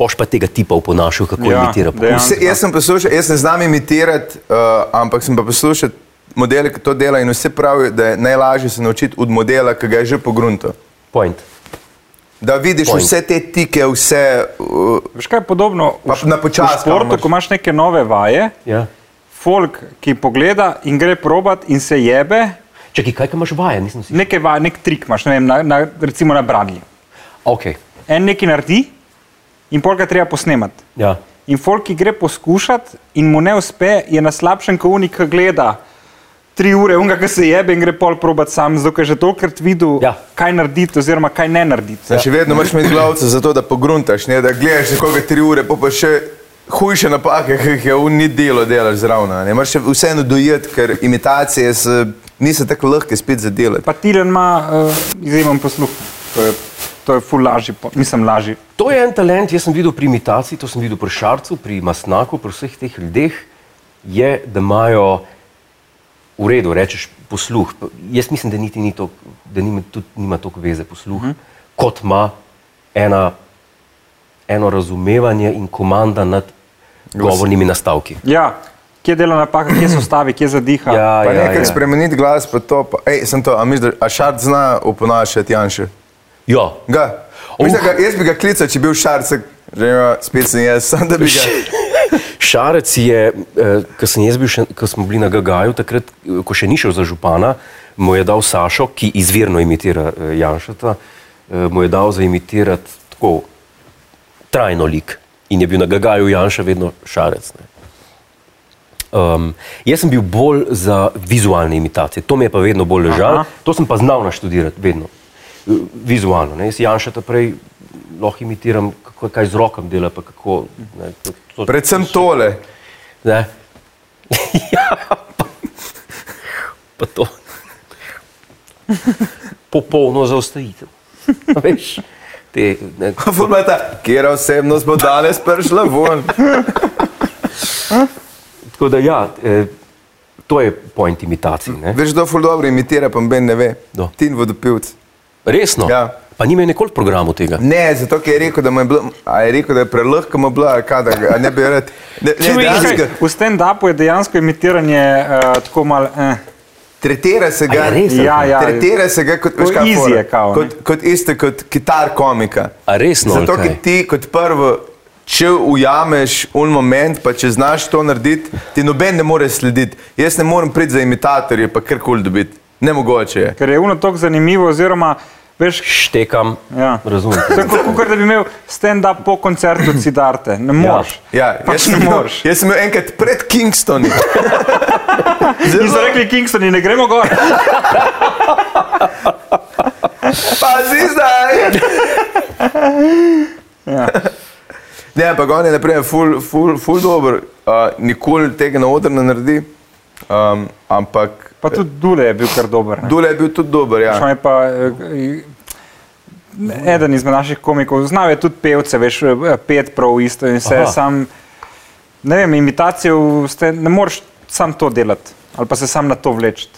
B: Poš pa tega tipa oponašal, kako
C: Ja,
B: ja, imitira poklukarja.
C: dejansko.
D: Vse, jaz sem poslušal, jaz ne znam imitirati, uh, ampak sem pa poslušal modele, ki to dela in vse pravijo, da je najlažje se naučiti od modela, ki ga je že pogrunto.
B: Point.
D: Da vidiš
B: Point.
D: Point. vse te tike, vse. Uh,
C: Veš kaj je podobno v,
D: Pa
C: š-
D: na počas,
C: v športu,
D: kamor.
C: ko imaš neke nove vaje,
B: Ja.
C: folk, ki pogleda in gre probat in se jebe,
B: Čakaj, kaj ka imaš vaje? Nisem si.
C: neke vaje, nek trik imaš, ne vem, na, na, recimo na bradlji.
B: Okay.
C: En neki naredi in pol ga treba posnemati.
B: Ja.
C: In folk, ki gre poskušati in mu ne uspe, je na slabšem, kot unik, ki gleda tri ure, unga, ki se jebe in gre pol probat sam, zato ker je že tolkrat videl,
B: Ja.
C: kaj narediti oziroma kaj ne narediti.
D: ja. Še vedno moraš imeti glavce za to, da pogruntaš, ne, da gledaš nekoga tri ure, pa pa še hujše napake, ki jih je v ni delo delaš zraven. a Ne moraš še vseeno dojeti, ker imitacije se, niso tako lahke spet zadelati.
C: Pa Tilen ima uh, izjemen posluh. To je, to je ful lažji, po- mislim lažji.
B: To je en talent, jaz sem videl pri imitaciji, to sem videl pri Šarcu, pri Masnaku, pri vseh teh ljudeh, je, da imajo v redu, rečeš posluh. P- Jaz mislim, da niti ni to, da nima, tudi nima toliko veze posluh,
D: Mhm.
B: uh -huh. kot ima ena, eno razumevanje in komanda nad govornimi nastavki.
C: Ja, kje dela napaka, kje so stavi, kje zadiha.
B: Ja,
D: Pa
B: ja,
D: nekaj
B: ja.
D: spremeniti glas, pa to, pa, ej, sem to, a misliš, da- a šart zna oponašati Janša?
B: Ja.
D: Ga.
B: Uh.
D: Mislim, da ga, jaz bi ga klical, če bi bil šart, se, že ima, spet sem jaz, sam da bi ga.
B: Šarec je, eh, ko sem jaz bil, še- ko smo bili na Gagaju, takrat, eh, ko še ni šel za župana, mu je dal Sašo, ki izvirno imitira eh, Janšata, eh, mu je dal za imitirati tako trajno lik. In je bil na Gagaju Janša vedno Šarec. Ne. Um, jaz sem bil bolj za vizualne imitacije, to mi je pa vedno bolj ležalo,
C: Aha.
B: to sem pa znal naštudirati, vedno. Eh, Vizualno, ne. jaz Janša ta prej lahko imitiram, kako, kaj z rokom dela, pa kako. Ne, to, to,
D: Predvsem tole.
B: Ne? ja, pa, pa to. Popolno zaostajitev. Veš, te, ne,
D: Formata, kjer osebnost bo danes prišla ven.
B: tako da, ja, eh, to je point imitacij. Ne?
D: Veš, kdo ful dobro imitira, pa mben ne ve.
B: Kdo?
D: Tin vodopilc.
B: Resno.
D: Ja.
B: Pa nime nikoli v programu tega.
D: Ne, zato ker je rekel, da mu je bilo, a je rekel, da je prelahko mu bilo, ali kaj, da ga- a ne bi rad. Ne, ne, dejansko,
C: Nekaj, v stand-upu je dejansko imitiranje uh, tako malo. Eh.
D: tretira se ga,
B: A je res?
C: Ja, ja.
D: tretira se ga kot,
C: Ko
D: veš kaj,
C: easy
D: fora?
C: je kao, ne?
D: kot, kot isto kot kitar komika.
B: A resno, ali
D: Zato,
B: kaj?
D: ker ti kot prvo, če ujameš un moment, pa če znaš to narediti, ti noben ne more slediti. Jaz ne morem priti za imitatorje, pa kar kul dobiti. Nemogoče je.
C: Ker je uno tako zanimivo, oziroma veš,
B: Štekam,
C: Ja.
B: razumem.
C: to je kot kot da bi imel stand-up po koncertu Cidarte. Ne moreš.
D: Ja, jaz,
C: pač
D: sem
C: ne
D: bil,
C: moreš.
D: jaz sem bil enkrat pred Kingstoni.
C: Niso rekli Kingstoni, ne gremo gor.
D: Pazi zdaj!
C: Ja.
D: Ne, ampak on je naprimer ful, ful, ful dober, uh, nikoli tega na odru ne naredi, um, ampak
C: Pa tudi Dule je bil kar dober. ne.
D: Dule je bil tudi dober, ja.
C: Šel je pa, eh, eh, eden izmed naših komikov, znal je tudi pevce, veš, eh, pet prav isto in vse
B: Aha.
C: sam. Ne vem, imitacijo ste, ne moreš sam to delati ali pa se sam na to vleči.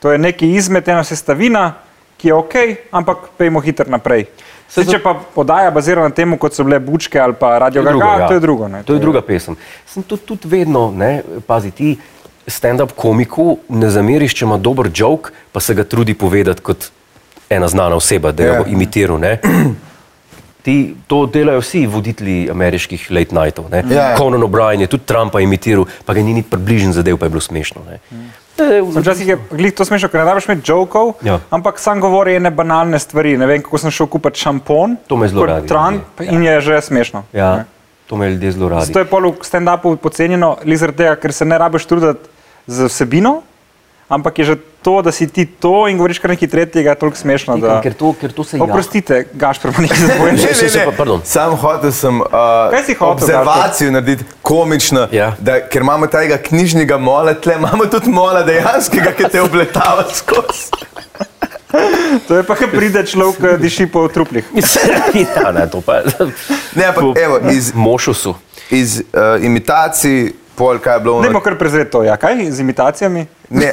C: To je neki izmed, ena sestavina, ki je ok, ampak pejmo hitro naprej. Se,
B: za-
C: če pa podaja bazirana na tem, kot so bile bučke ali pa radio
B: To je drugo,
C: gaga,
B: ja.
C: to je drugo. ne,
B: To je druga pesem. Sem tudi, tudi vedno, ne, pazi ti, stand-up komiku ne zameriš, če ima dober joke, pa se ga trudi povedati kot ena znana oseba, da jo
D: Ja.
B: bo imitiral. Ne. Ti, to delajo vsi voditelji ameriških late nightov.
D: Ja, ja.
B: Yeah. Conan O'Brien je tudi Trumpa imitiral, pa ga ni niti približen zadev, pa je bilo smešno. Ne. Ne, v-
C: Sem Včasih je glih to smešno, ker ne rabiš imeti jokov,
B: Ja.
C: ampak sam govori ene banalne stvari. Ne vem, kako sem šel kupiti šampon,
B: To me zelo
C: kot
B: radi
C: Trump
B: ljudje.
C: in je že smešno.
B: Ja, to me ljudje zelo radi.
C: Zato je pol v stand-upu pocenjeno, le zaradi tega, ker se ne rabiš truditi z vsebino, ampak je že to, da si ti to in govoriš kar nekaj tretjega, toliko smešno. Da...
B: Tikam, ker, to, ker to se jaha.
C: Oprostite, Gašpor, pa nekaj zabojem.
B: Ne, se- se pa- pardon.
D: Sam hotel sem uh,
C: Kaj si hotel,
D: observacijo narediti komično,
B: Ja.
D: da, ker imamo tega knjižnega mola, tle imamo tudi mola dejanskega, ki te obletava skozi.
C: to je pa, ko pride človek, ki diši po truplih.
B: ja, ne, to pa,
D: Ne, ampak
B: to-
D: evo, iz-
B: Mošusu.
D: Iz uh, imitacij, pol kaj je bilo
C: Dajmo kar prezreti to, ja, kaj z imitacijami.
D: Ne,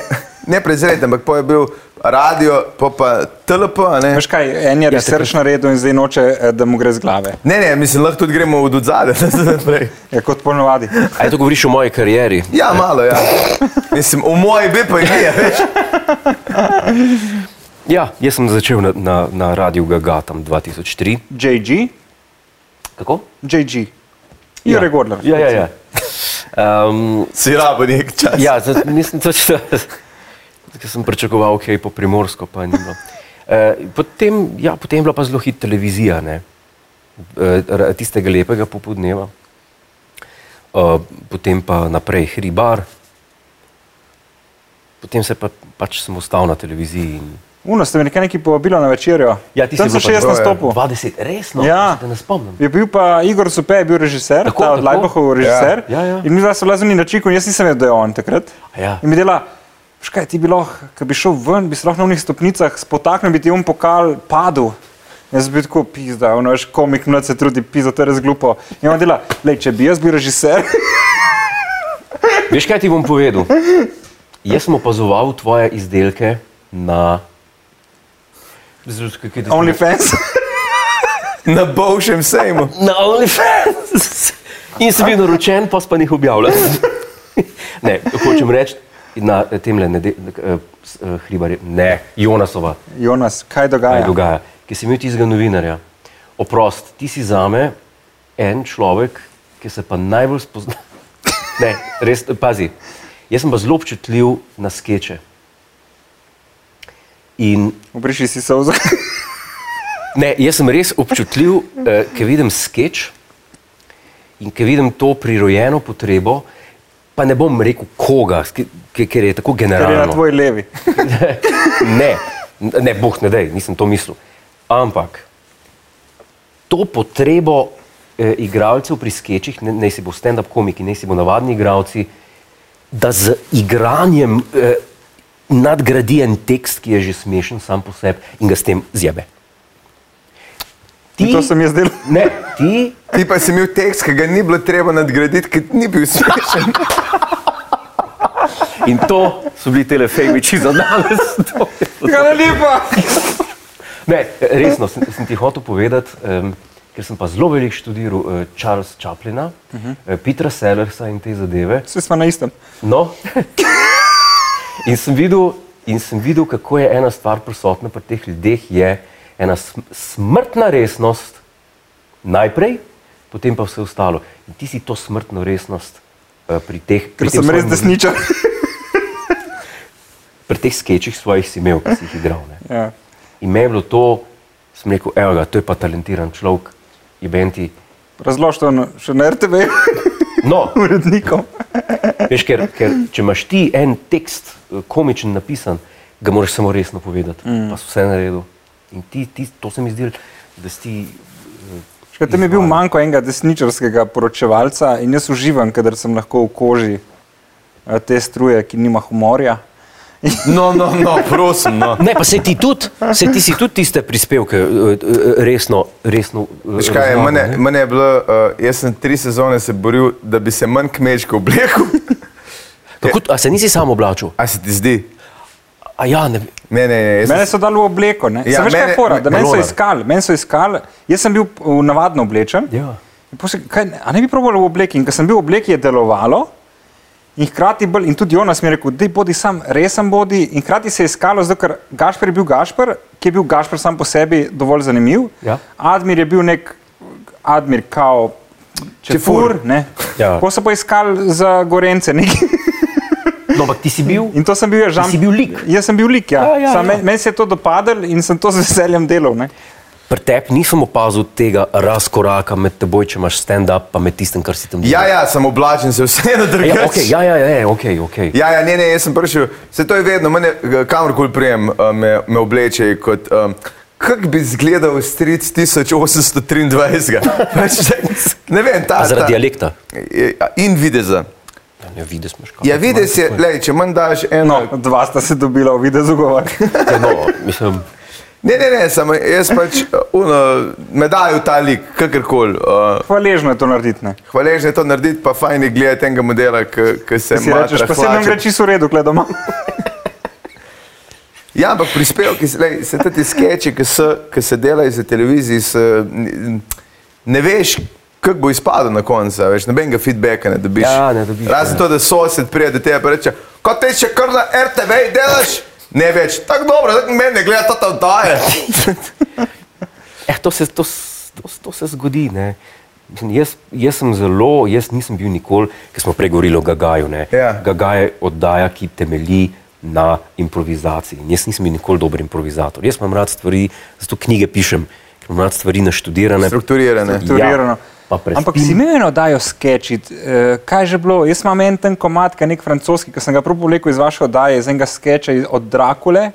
D: ne prezreten, ampak pol je bil radio, pol pa TLP, a ne.
C: Veš kaj, en je ja, research naredil in zdaj noče, eh, da mu gre z glave.
D: Ne, ne, mislim, lahko tudi gremo od odzadaj, da se naprej.
C: Ja, kot ponovadi.
B: A je to govoriš o moji karieri?
D: Ja, malo, ja. Mislim, v moji bi pa je, veš.
B: Ja, jaz sem začel na, na, na radiju Gaga tam 2003.
C: JG,
B: Kako?
C: JG. Jure Gordler.
B: Ja, ja, ja. Um,
D: Si rabo nek čas.
B: ja, zdaj nisem točno, ker sem pričakoval, kaj po primorsko, pa ni bilo. Uh, potem, ja, potem je bila pa zelo hit televizija, ne? Eh, ra- tistega lepega popodneva. Uh, potem pa naprej hribar. Potem se pa, pač sem ostal na televiziji. In...
C: Uno ste me nekaj neki povabilo na večerjo.
B: Ja, ti
C: Tam
B: si
C: sem
B: bil pa
C: še jaz
B: zelo, ja.
C: nastopil.
B: 20, resno,
C: Ja.
B: da no? ne spomnim.
C: Je bil pa Igor Supe, je bil režiser,
B: Tako,
C: tako, ta od
B: tako.
C: Lajbohov režiser.
B: Ja, ja, ja.
C: In mi dva smo lazili na čiku in jaz nisem vedel, da je on takrat.
B: A ja.
C: In mi dela, "Veš kaj ti bi lahko, ko bi šel ven, bi se lahko na unih stopnicah spotaknil, bi ti on pokal padel. Jaz bi bil tako pizda, ono veš, komik mlad se trudi, pizda, to je res glupo. In on dela, le če bi jaz bil režiser,
B: Veš, kaj ti bom povedal? Jaz sem opazoval tvoje izdelke na. Zelo kako je to?
C: OnlyFans.
D: Na bovšem sejmu.
B: Na OnlyFans. In sem bil naročen, pa sem jih objavljal. ne, hočem reči, na tem le eh, hribarju, ne, Jonasova,
C: Jonas, kaj
B: kaj
C: dogaja?
B: dogaja, ki sem imel tistega novinarja. Oprost, ti si za me en človek, ki se pa najbolj spozna. Ne, res, pazi. Jaz sem pa zelo občutljiv na skeče. In
C: Obriši si se vzor.
B: Ne, jaz sem res občutljiv, eh, ker vidim skeč in ker vidim to prirojeno potrebo, pa ne bom rekel koga, ske- ke- ker je tako
C: Ker je na
B: generalno.
C: tvoji levi.
B: Ne, ne, boh ne dej, nisem to mislil. Ampak to potrebo eh, igralcev pri skečih, ne, naj si bo stand-up komiki, naj si bo navadni igralci, da z igranjem eh, nadgradi en tekst, ki je že smešen sam po sebi in ga s tem zjebe.
C: In to sem jaz delal.
B: Ne, ti,
D: Ti pa si imel tekst, ki ga ni bilo treba nadgraditi, ker ni bil smešen.
B: in to so bili telefejmiči za danes. To je to.
C: Hvala lepa.
B: Ne, resno, sem, sem ti hotel povedati, um, ker sem pa zelo veliko študiral uh, Charlesa Chaplina, uh -huh. uh, Petra Sellersa in te zadeve.
C: Vsi smo na istem.
B: No, in sem videl, in sem videl kako je ena stvar prisotna pri teh ljudeh, je ena sm smrtna resnost najprej, potem pa vse ostalo. In ti si to smrtno resnost uh, pri teh. pri
C: Ker
B: tem
C: sem res
B: svojem-
C: desničar.
B: Pri teh skečih svojih si imel, ki si jih igral. Ne?
C: Ja.
B: In me je bilo to, sem rekel, evo ga, to je pa talentiran človek, je benti.
C: Razloži to na- še na RTV,
B: No,
C: urednikom.
B: veš, ker, ker če imaš ti en tekst eh, komičen napisan, ga moraš samo resno povedati, mm. pa si vse naredil. In ti, ti, to se mi zdi, da si ti eh,
C: Še tam je bil manjko enega desničarskega poročevalca in jaz uživam, kadar sem lahko v koži eh, te struje, ki nima humorja.
D: No, no, no, prosim. No.
B: Ne, pa se ti tudi, se ti si tudi tiste prispevke eh, eh, resno, resno. eh,
D: Veš kaj, je,
B: razlagal,
D: mene,
B: ne?
D: mene je bilo, uh, jaz sem tri sezone se boril, da bi se manj kmečko oblekel.
B: Kako, a se nisi sam oblačil?
D: A se ti zdi?
B: A ja, ne,
D: Ne, ne, ne. jaz sem-
C: Mene so dali v obleko, ne?
D: Ja,
C: Ja, veš, mene, kaj
D: mene-
C: je fora, da meni so
D: Malone.
C: iskali, meni so iskali, jaz sem bil v navadno oblečen.
B: Ja.
C: In Potem, sem, kaj, a ne bi probal v obleki? In ko sem bil v obleki, je delovalo. In hkrati, bolj, in tudi Jonas mi je rekel, da bodi sam, resen bodi. In hkrati se je iskalo, zato ker Gašper je bil Gašper, ki je bil Gašper sam po sebi dovolj zanimiv.
B: Ja.
C: Admir je bil nek, Admir kao Čefur. ne.
B: Ja.
C: Potem so pa iskali za Gorence neki.
B: no, ampak ti si bil.
C: In to sem bil jaz,
B: Ti
C: žal.
B: si bil lik.
C: Jaz sem bil lik, ja.
B: Ja,
C: ja,
B: ja,
C: ja,
B: ja.
C: ja. Meni men se je to dopadlo in sem to z veseljem delal. Ne?
B: Pri tebi nisem opazil tega razkoraka med teboj, če imaš stand-up, pa med tistim, kar si tam
D: Ja, ja, sem oblačen, se vseeno
B: Ja,
D: drgaš.
B: okay, ja, ja, ja, okay, okay.
D: Ja, ja, ne, ne, jaz sem prišel, se to je vedno, mene, eh, kamorkoli prijem, eh, me, me obleče kot. Um, Kako bi izgledal stric 1823? Pač, ne vem, ta.
B: A zaradi
D: ta-
B: dialekta.
D: Je- a, In videza.
B: Ja, ne, vidiš, imaš kaj.
D: Ja, videz je, lej, če manj daš eno.
C: No, dva sta se dobila v videzu govor.
B: Ja, no, mislim,
D: Ne, ne, ne, samo jaz pač eh, uno, me dajo v ta lik, kakorkoli. Uh,
C: Hvaležno je to narediti. Ne?
D: Hvaležno je to narediti, pa fajn je gledati enega modela, ki se
C: Ti Si
D: matra,
C: rečeš, pa se nam
D: hlače.
C: gre čisto v redu, gledam.
D: Ja, ampak prispevki, lej, se te skeči, ki se, ki se delajo za televizijo, se, n- ne veš, kako bo izpadel na koncu. a Veš, nobenega feedbacka ne dobiš.
B: Ja, ne dobiš,
D: Razen
B: ja.
D: to, da sosed pride do tebe in reče, kot ti še kar na RTV delaš, ne več. Tako dobro, tako meni gleda to tam daje.
B: eh, to, se, to, s- to, s- to se zgodi. ne. Mislim, jaz, jaz sem zelo, jaz nisem bil nikoli, ker smo pregovorili o Gagaju. ne.
D: Ja.
B: Gagaj je oddaja, ki temelji na improvizaciji. In jaz nisem bil nikoli dober improvizator. Jaz imam rad stvari, zato knjige pišem, ker imam rad stvari naštudirane. Ja.
D: Strukturirane.
C: Strukturirano.
B: pa prespim.
C: Ampak si imel dajo skečit. E, kaj je že bilo? Jaz imam en ten komat, kaj nek francoski, ki sem ga prav povlekel iz vaše oddaje, iz enega skeča iz- od Drakule.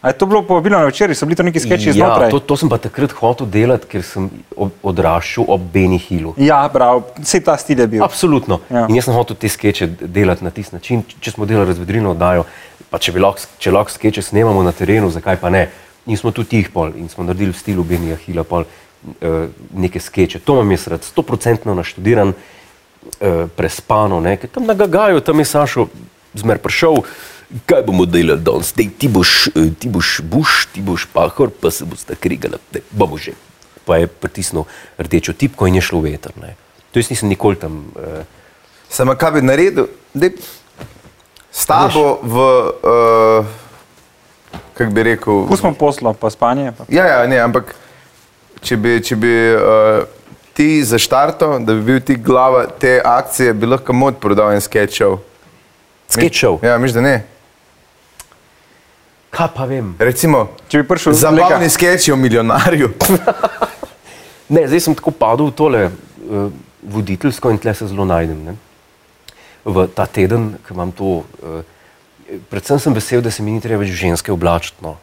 C: A je to bilo povabilo na večerji, so bili to neki
B: Ja,
C: skeči znotraj?
B: to, to sem pa takrat hotel delati, ker sem ob, odraščal ob Beni Hillu.
C: Ja, prav, vse ta stil je bil.
B: Absolutno. Ja.
C: Ja.
B: In jaz sem hotel te skeče delati na tisti način, Č- če smo delali razvedrino oddajo, pa če, bi lahko, če lahko skeče snemamo na terenu, zakaj pa ne. In smo tudi tih pol in smo naredili v stilu Benija Hila pol eh, neke skeče. To imam jaz rad, stoprocentno naštudiran, eh, prespano, ne, ker tam na Gagaju, tam je Sašo zmer prišel. Kaj bomo delali danes? Dej, ti boš, eh, ti boš buš, ti boš pahor, pa se bosta krigala, ne, bomo že. Pa je pritisnil rdečo tipko in je šlo v veter. Ne. To jaz nisem nikoli tam eh,
D: Samo kaj bi naredil, da s tabo v, uh, kako bi rekel,
C: Pustimo poslo, pa spanje. Pa.
D: Ja, ja, ne, ampak če bi, če bi uh, ti zaštartal, da bi bil ti glava te akcije, bi lahko mod prodal en sketchov.
B: skečal.
D: Ja, misliš, da ne.
B: Kaj pa vem?
D: Recimo,
C: Če bi prišel
D: zabavni sketchi o milijonarju.
B: Ne, zdaj sem tako padel v tole uh, voditeljsko in tle se zelo najdem. Ne? V ta teden, ki imam to, uh, predvsem sem vesel, da se mi ni treba več ženske oblačiti, no,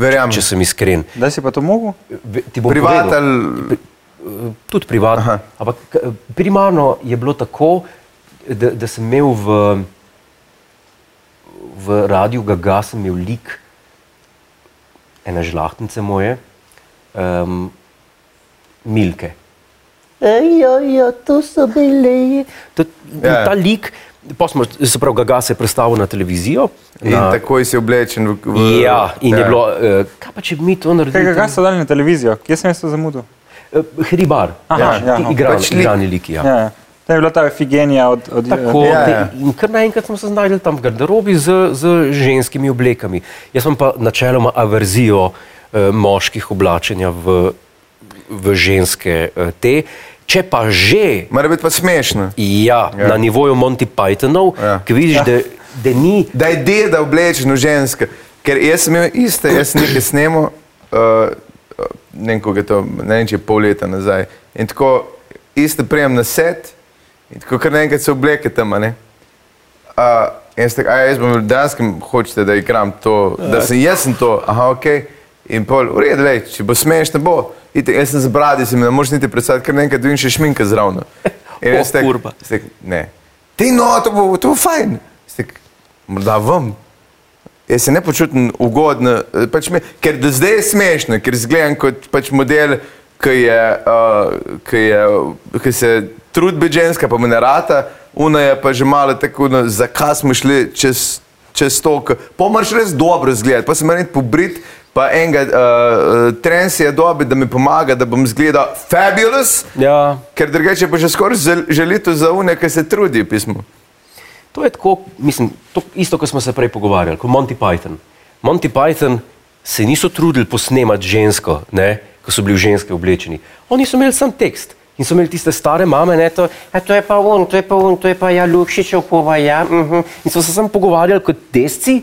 D: Verjamem.
B: če sem iskren.
C: Da si pa to mogel?
B: Ve- ti bom
D: Privat
B: povedal.
D: ali...
B: Eh, tudi privatno.
D: Aha.
B: Ampak k- primarno je bilo tako, da, da sem imel v, v radiju Gaga, sem imel lik ene žlahtnice moje, um, Milke. Ja, ja, to so bili. To,
D: Ja.
B: yeah. Ta lik, pa smo, se pravi, Gaga se je predstavil na televizijo.
D: In
B: na,
D: takoj si oblečen v... v
B: ja, in yeah. je bilo, uh, kaj pa če bi mi to
C: Kaj
B: naredili?
C: ga so dali na televizijo? Kje sem jaz to zamudil?
B: Eh, Hribar,
C: Aha,
B: Veš,
C: ja,
B: ti
C: no.
B: igrani,
D: Pač lik.
B: igrani liki. Ja.
C: Ja. Ja, to je bila ta Figenija od, od
B: Tako,
D: Ja,
B: ja,
D: ja.
B: ja. In kar naenkrat smo se znašli tam v garderobi z, z ženskimi oblekami. Jaz imam pa načeloma averzijo eh, moških oblačenja v, v ženske eh, te. Če pa že
D: Mora biti pa smešno.
B: ja, ja. na nivoju Monty Pythonov,
D: Ja.
B: ja. ki vidiš, ja. da, da ni.
D: Da je deda oblečen v ženske. Ker jaz sem imel iste, jaz sem nekaj snemo, uh, ne vem, koliko je to, ne vem, če je pol leta nazaj. In tako iste prejem na set in tako kar naenkrat se obleke tam, a ne. Uh, jaz, tak, a jaz bom v danskem, hočete, da igram to, da sem jaz sem to, aha, ok. In pol, v redu, lej, če bo smeš, ne bo. Ite, jaz sem zbradi, si mi ne moreš niti predstavljati, ker nekaj dvin še šminka zraven. In
E: O,
D: jaz tek-
E: kurva.
D: jaz tek, Ne. Ti no, to bo, to bo fajn. Jaz tek, Morda vam. Jaz se ne počutim ugodno, eh, pač me, ker do zdaj je smešno, ker zgledam kot pač model, ki, je, uh, ki, je, ki se trudi ženska, pa mu ne rata, una je pa že malo tako, no, zakaj smo šli čez, čez to, pa moraš res dobro zgledati, pa se moram iti pobrit, pa enega uh, trends je dobi, da mi pomaga, da bom zgledal fabulous,
B: Ja,
D: ker drugače je pa že skoraj zel- žalitev za une, ki se trudi pismo.
B: To je tako, mislim, to isto, kot smo se prej pogovarjali, kot Monty Python. Monty Python se niso trudili posnemati žensko, ne, ko so bili v ženske oblečeni. Oni so imeli sam tekst in so imeli tiste stare mame, ne, to, "A to je pa on, to je pa on, to je pa ja, Lukšičev, pova ja. Uh -huh. In so se sam pogovarjali kot desci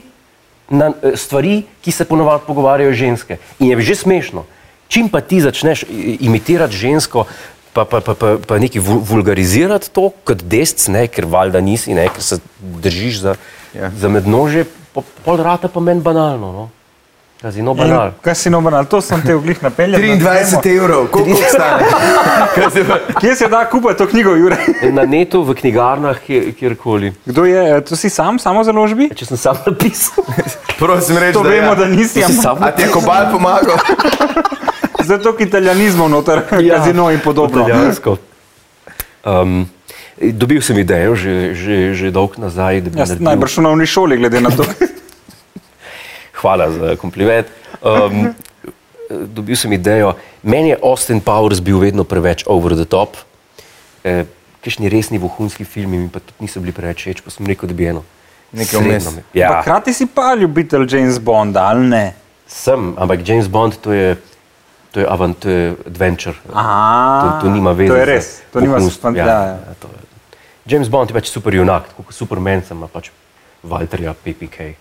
B: na eh, stvari, ki se ponovadi pogovarjajo ženske. In je že smešno. Čim pa ti začneš i- imitirati žensko, pa, pa, pa, pa, pa nekaj vul- vulgarizirati to kot desc, ne, ker valjda nisi, ne, ker se držiš za,
D: Ja.
B: yeah. za mednože, po, pol rata pa meni banalno. No. Kazino banal.
C: Kaj si nobenal, to sem te oglih napeljal. na temo.
D: evrov, koliko stane? Kaj se pa-
C: Kje se da kupiti to knjigo, Jure?
B: Na netu, v knjigarnah, kjer, kjerkoli.
C: Kdo je, eh, to si sam, samo založbi?
B: Ja, Če sem sam napisal,
D: Prosim, reči,
C: To
D: da
C: vemo,
D: ja.
C: da nisi,
B: si
C: ampak
B: sam
D: A ti je kobal pomagal?
C: zato k italijanizmu noter, ja. kazino in podobno.
B: Italijansko. Um, dobil sem idejo že, že, že dolgo nazaj, da bi
C: Jaz
B: naredil
C: najbrž v novni šoli, glede na to.
B: Hvala za kompliment. Um, dobil sem idejo. Meni je Austin Powers bil vedno preveč over the top. Eh, Kajšni resni vohunski filmi mi pa tudi niso bili preveč všeč, pa sem rekel, da bi eno.
D: Nekaj
B: srednjo
D: vmes.
B: me- Ja,
C: Hkrati si pa ljubitelj James Bonda, ali ne?
B: sem, ampak James Bond to je, to je, avant, to je adventure.
C: Aha,
B: to, to nima veze.
C: Ah, To je
B: z
C: res, to nima s
B: vohunstvom.
C: fantazijo. Ja, ja.
B: to je- James Bond je pač superjunak, tako kot Superman sem ima pač Walterja, PPK.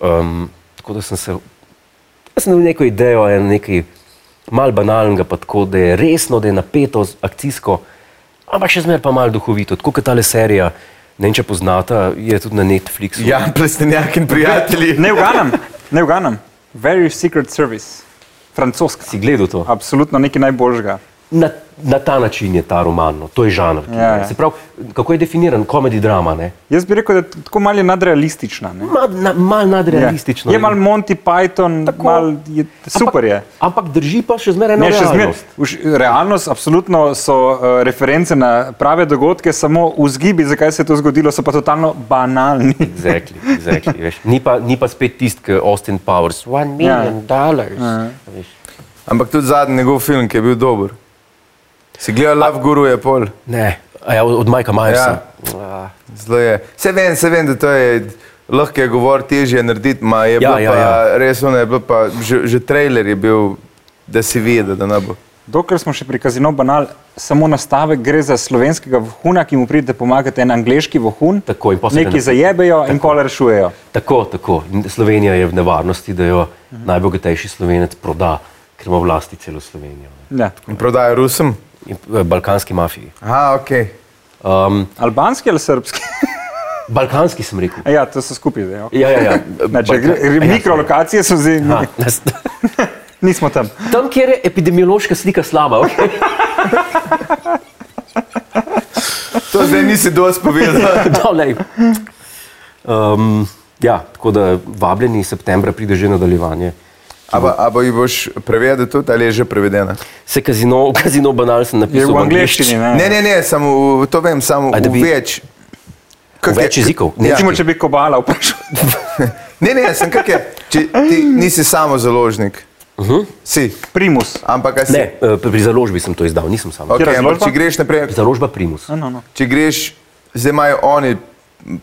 B: Um, tako da sem se, jaz sem imel neko idejo, en nekaj mal banalnega, pa tako, da je resno, da je napeto, z- akcijsko, ampak še zmeraj pa mal duhovito, tako kot tale serija. Ne vem, če poznata, je tudi na Netflixu.
D: Ja, plestenjak in prijatelji.
C: Ne uganam, ne uganam. Very Secret Service, francoska.
B: Si gledal to?
C: Absolutno nekaj najboljžega.
B: Na, na ta način je ta roman, no. to je žanr. ki
C: Ja,
B: je.
C: ja.
B: Se pravi, kako je definiran, komedij drama. Ne?
C: Jaz bi rekel, da je tako malo je nadrealistična. Ne? Ja.
B: Mal, na, mal nadrealistično.
C: Je, je malo Monty Python,
B: Tako.
C: mal je, super je.
B: Ampak drži pa še zmeraj eno
C: Ne, še zmeraj.
B: realnost.
C: Už Realnost, absolutno so uh, reference na prave dogodke, samo vzgibi, zakaj se je to zgodilo, so pa totalno banalni.
B: Exactly, exactly, veš. ni, pa, ni pa spet tisti, ki je Austin Powers.
C: Ja.
B: One million yeah. dollars. Yeah.
D: Ampak tudi zadnji njegov film, ki je bil dober. Si gledal Love Guru je pol.
B: Ne, A ja, od Majka Myersa. Ja.
D: Zelo je. Se vem, se vem, da to je lahko je govor težje narediti, ma je
B: Ja,
D: bilo
B: ja,
D: pa,
B: ja.
D: res ono je bilo pa, že, že trailer je bil, da si videl, da ne bo.
C: Dokler smo še pri kazino banal, samo nastavek gre za slovenskega vohuna, ki mu pridete pomagati en angliški vohun.
B: Tako, in pol se ga
C: Neki
B: ne-
C: zajebejo in pol rešujejo.
B: Tako, tako. Slovenija je v nevarnosti, da jo najbogatejši slovenec proda, ker ima v lasti celo Slovenijo. ne.
C: Ja.
D: In prodajo Rusom?
B: In eh, balkanski mafiji.
D: Aha, ok.
B: Um,
C: Albanski ali srbski?
B: balkanski sem rekel.
C: ja, to so skupaj. zdaj, ok.
B: Ja, ja, ja.
C: Znači,
B: Balkan-
C: gre,
B: Ja,
C: gre, mikrolokacije so zdaj,
B: sorry. Aha.
C: nismo tam.
B: Tam, kjer je epidemiološka slika slaba. Okay?
D: To zdaj nisi dosti povedal.
B: Dolej. Um, ja, tako da vabljeni septembra pride že nadaljevanje.
D: A pa- A pa jih boš prevedel tudi, ali je že prevedena?
B: Se kazino, kazino banal sem
C: Je
B: napisal
C: v angleščini. Ne?
D: Ne, ne, ne, samo v- to vem, samo
B: A da
D: v
B: bi-
D: več. Kak
B: V več
D: je-
B: jezikov?
D: Ja.
C: Recimo, če bi kobala vprašal.
D: Ne, ne, sem kak je. Če ti nisi samo založnik, uh -huh. si,
C: Primus.
D: ampak a si.
B: Ne, eh, pri pri založbi sem to izdal, nisem sam. Okay.
D: Okay, ampak,
C: razložba?
D: če greš naprej,
B: Založba Primus.
C: No, no, no.
D: če greš, zdaj imajo oni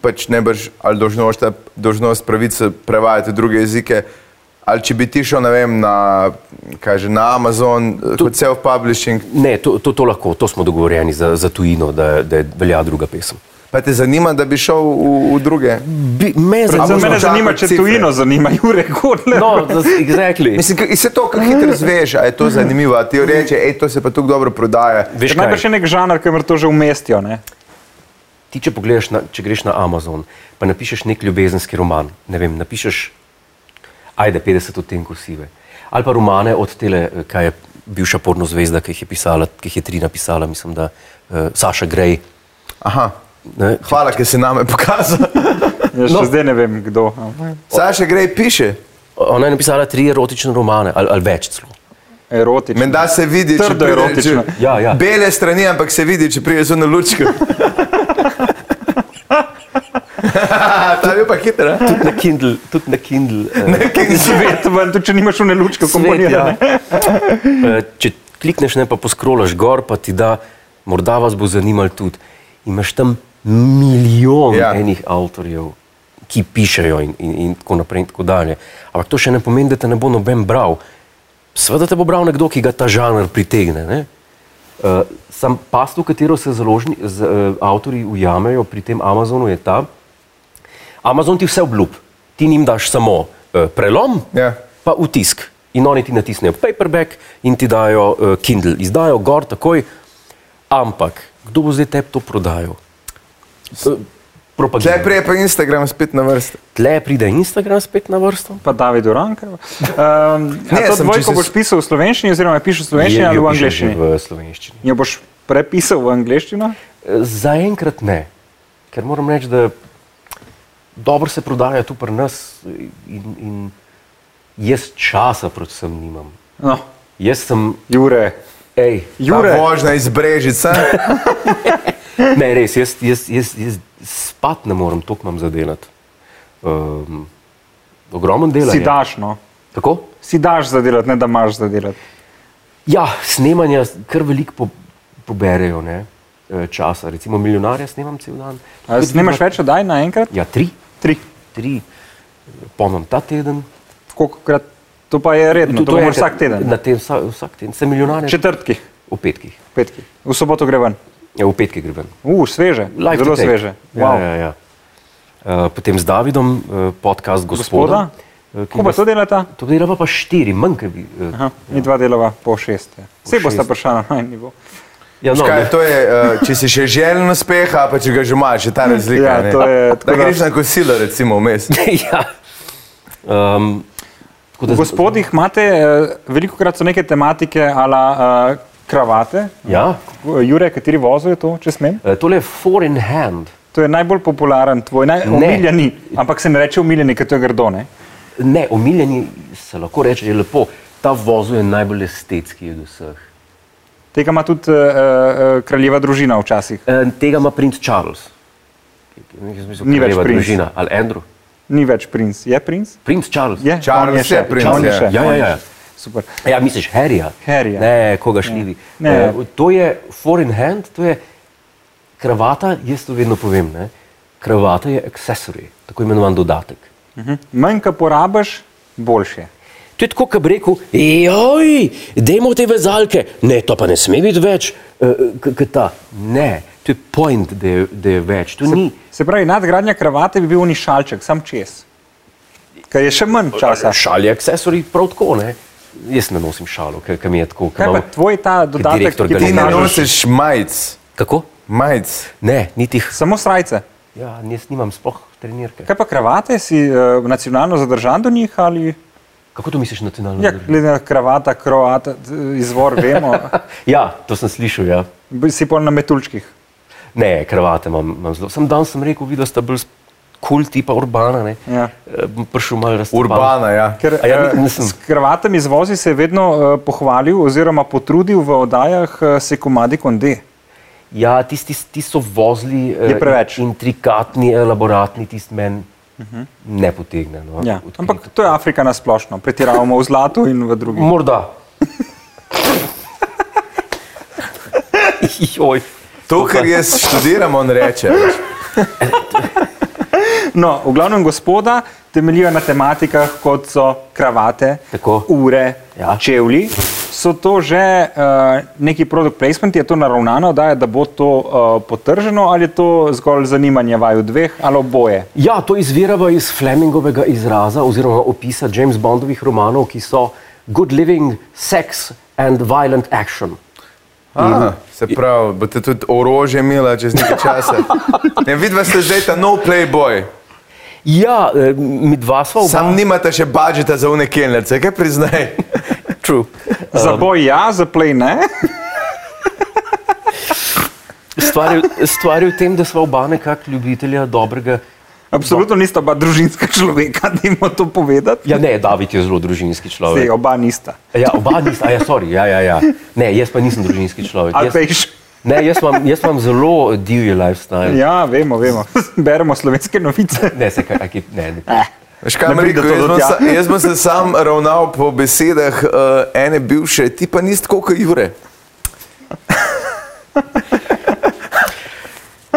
D: pač ne brž ali dožnost, dožnost pravice prevajati v druge jezike. Ali če bi ti šel, ne vem, na, kaj že, na Amazon, tu, kot self-publishing,
B: Ne, to, to, to lahko, to smo dogovorjeni za, za tujino, da, da velja druga pesem.
D: pa te zanima, da bi šel v, v druge.
B: Bi, me
D: Predvsem
B: zanima,
D: Amazon
C: Mene
D: čaka
C: zanima, če
D: cifre.
C: tujino zanima, Jure Kodler.
B: no, da- exactly.
D: Mislim, kaj- se to, kako hitro zveš, a je to zanimivo, a ti reče, hej, to se pa tako dobro prodaja.
B: Veš kaj?
C: Najbrž je nek žanr, ki ima to že umestijo. Ne?
B: Ti, če, pogledaš na, če greš na Amazon, pa napišeš nek ljubezenski roman, ne vem, napišeš, ajde, 50 odtenkov sive. Ali pa romane od tele, eh, kaj je bivša porno zvezda, ki jih je, pisala, ki jih je tri napisala, mislim, da uh, Saša Grej.
D: Aha.
B: Ne,
D: Hvala, ker si name pokazal.
C: Jaz no.
B: No.
C: še zdaj ne vem, kdo. ampak
D: Saša Grej piše,
B: ona je napisala tri erotične romane, ali, ali več celo.
C: Erotično.
D: menda se vidi,
C: Trdo
D: pride-
C: erotično.
D: če-
B: Ja, ja.
D: Bele strani, ampak se vidi, če priješ na lučko. Ta je bil pa hiter, a?
B: Tudi na Kindle, tudi na Kindle. Uh,
C: Svet ven, tudi če nimaš une lučke,
B: Svet, ja.
C: komponirane.
B: Eh, Če klikneš, ne pa poskrolaš gor, pa ti da, morda vas bo zanimalo tudi. Imaš tam milijon
D: Ja.
B: ja. enih avtorjev, ki pišejo in, in, in tako naprej in tako dalje. Ampak to še ne pomeni, da te ne bo noben bral. Sveda te bo bral nekdo, ki ga ta žanr pritegne. Ne? Uh, sam past, v katero se založni, z, uh, avtori ujamejo pri tem Amazonu, je ta. Amazon ti vse obljub, ti njim daš samo uh, prelom,
D: Ja.
B: pa vtisk. In oni ti natisnejo paperback in ti dajo uh, Kindle, izdajo gor takoj. Ampak kdo bo zdaj tebi to prodajal? Uh,
D: Tle
B: Propaganda.
D: prije pa Instagram spet na vrsti.
B: Tle pride Instagram spet na vrsto.
C: Pa David Urankar. Um,
D: Ne,
C: ne, to
D: sem
C: dvojko
D: čisto-
C: boš pisal v slovenščini, oziroma pišeš v slovenščini
B: Je-
C: ali
B: jo
C: ja, v
B: pišem že
C: angleščini?
B: V slovenščini.
C: Jo boš prepisal v angleščino?
B: Zaenkrat ne, ker moram reči, da dobro se prodaja tu pri nas in, in jaz časa predvsem nimam.
C: No,
B: Jaz sem,
C: Jure.
B: hej,
D: Jure.
C: Jure,
D: Možna iz Brežica.
B: ne res, jaz, jaz, jaz, jaz spat ne morem, toliko imam zadelati. Um, ogromen dela.
C: si
B: je.
C: daš, no.
B: Kako?
C: Si daš zadelati, ne da imaš zadelati.
B: Ja, snemanja kar veliko po, poberejo ne, eh, časa. Recimo milijonarja snemam cel dan.
C: A Snemaš več oddaj naenkrat?
B: Ja, tri,
C: Tri.
B: tri. Pomem ta teden.
C: Kolikokrat? To pa je redno, No, to, to, to
B: je
C: moraš vsak teden.
B: Na tem vsak, vsak teden, sem milijonar.
C: Četrtki,
B: V petkih.
C: petki. V soboto gre ven.
B: Ja, v petkih gre ven.
C: U, sveže,
B: Live to
C: zelo
B: take.
C: sveže.
B: Ja, wow. ja, ja. Uh, potem z Davidom, uh, podcast
C: Gospoda?
B: Gospoda. eh, ki
C: Kako pa
B: nas-
C: to delata?
B: To delava pa štiri, manj kot bi. eh,
C: Aha, mi dva delava po šest. Vse boste
B: šest.
C: prišli na najnižji nivo.
B: Ja, no,
D: Kaj,
B: ne.
D: to je, eh, če si še želen uspeha, pa če ga že imaš, je ta razlika.
C: Ja,
D: ne?
C: to je
D: da
C: tako, da-
D: greš na kosilo, recimo, vmes.
B: ja. um, tako da-
C: V gospodih imate, eh, veliko krat so neke tematike, ala uh, kravate.
B: Ja,
C: Jure, kateri vozo je to, če smem?
B: eh, tole je foreign hand.
C: To je najbolj popularen, tvoj najomiljeni, ampak se ne reče omiljeni, ker to je grdo, ne?
B: Ne, omiljeni se lahko reče, je lepo. Ta vozu je najbolj estetski od vseh.
C: Tega ima tudi uh, uh, kraljeva družina včasih.
B: Eh, Tega ima princ Charles. Ki- ki- jaz Mislim,
C: Ni več
B: kraljeva
C: princ.
B: družina ali Andrew.
C: Ni več princ. Je princ?
B: Princ Charles.
C: Je,
D: Charles
C: on je
D: je
C: še
D: princ,
C: on je.
D: ja.
C: Še,
B: Ja,
C: on
B: ja,
C: je
B: ja.
C: še. Super.
B: Ja, misliš, Harryja?
C: Harryja.
B: Ne, koga šljivi.
C: Ne.
B: Eh, To je foreign hand, to je kravata, jaz to vedno povem. Ne? Kravata je accessory, tako imenovan dodatek.
C: Mhm. Manj, kar porabiš, boljše.
B: To je tako, kot bi rekel, joj, dajmo te vezalke, ne, to pa ne sme biti več, eh, k- k- ta. Ne, to je point, da je, da je več, to ni.
C: Se pravi, nadgradnja kravate bi bil ni šalček, sam čez. Ker je še manj časa.
B: Šal je accessory, prav tako, ne. Jaz ne nosim šalo, ker ker mi je tako. ker
C: Kaj pa
B: imam-
C: tvoj ta dodatek,
B: direktor
C: ki ti
D: Ti ne
B: Galenažeš.
C: daš?
D: nosiš majic.
B: Kako?
D: Majic.
B: Ne, niti jih.
C: Samo srajce.
B: Ja, jaz nimam sploh trenirke.
C: Kaj pa kravate, si uh, nacionalno zadržan do njih ali?
B: Kako to misliš nacionalno?
C: Ja,
B: družbo?
C: glede na kravata, kroata, t- izvor vemo,
B: Ja, to sem slišal. Ja.
C: bi- si pol na metuljčkih.
B: Ne, kravate imam, imam zelo. Sam danes sem rekel, videl sta bolj kul cool tipa urbana. ne.
C: Ja.
B: Eh, bom Prišel malo razumeti.
D: Urbana, ja.
C: Ker
B: A ja,
C: eh,
B: ni- nisem.
C: s kravatami izvozi se je vedno uh, pohvalil oziroma potrudil v oddajah uh, se komadi konde.
B: Ja, tisti ti so vozili, eh,
C: Je preveč. Mhm.
B: intrikatni, elaboratni, tisti meni uh -huh. ne potegne. No,
C: Ja.
B: odkrito.
C: Ampak to je Afrika nasplošno, pretiravamo v zlatu in v drugih.
B: morda. Joj.
D: To, kar jaz študiram, on reče.
C: No, v glavnem gospoda temeljijo na tematikah, kot so kravate,
B: Tako.
C: ure, ja.
B: Ja.
C: čevlji. So to že uh, neki produkt placement, je to naravnano, da, je, da bo to uh, potrženo ali je to zgolj zanimanje vaju dveh ali oboje?
B: Ja, to izvirava iz Flemingovega izraza oziroma opisa James Bondovih romanov, ki so good living, sex and violent action.
C: Mhm.
D: Aha, se pravi, boste tudi orožje imela čez nekaj časa. Ne, vidva ste zdaj ta no playboy.
B: Ja, eh, midva sva oba.
D: Sam nimate še budžeta za unekelnice, kaj priznaj?
B: True.
C: Za
B: Ehm.
C: boj ja, za play ne.
B: Stvar je, stvar je v tem, da sva oba nekako ljubitelja dobrega.
C: Absolutno
B: No.
C: nista oba družinska človeka, da jim to povedati.
B: Ja, ne, David je zelo družinski
C: Sej,
B: človek.
C: oba nista.
B: Ja, oba nista, a ja, sorry, ja, ja, ja. Ne, jaz pa nisem družinski človek.
C: Ali
B: Jaz,
C: peš?
B: ne, jaz imam, jaz imam zelo divji lifestyle.
C: Ja, vemo, vemo. Beremo slovenske novice.
B: Ne, se kaj, kaj, ne, ne.
D: Veš, kaj
C: Ne
D: bom
C: pride
D: rekel,
C: to
D: jaz,
C: do
D: bom
C: tja.
D: sa, jaz bom se sam ravnal po besedah uh, ene bivše, ti pa nisi tako kot Jure.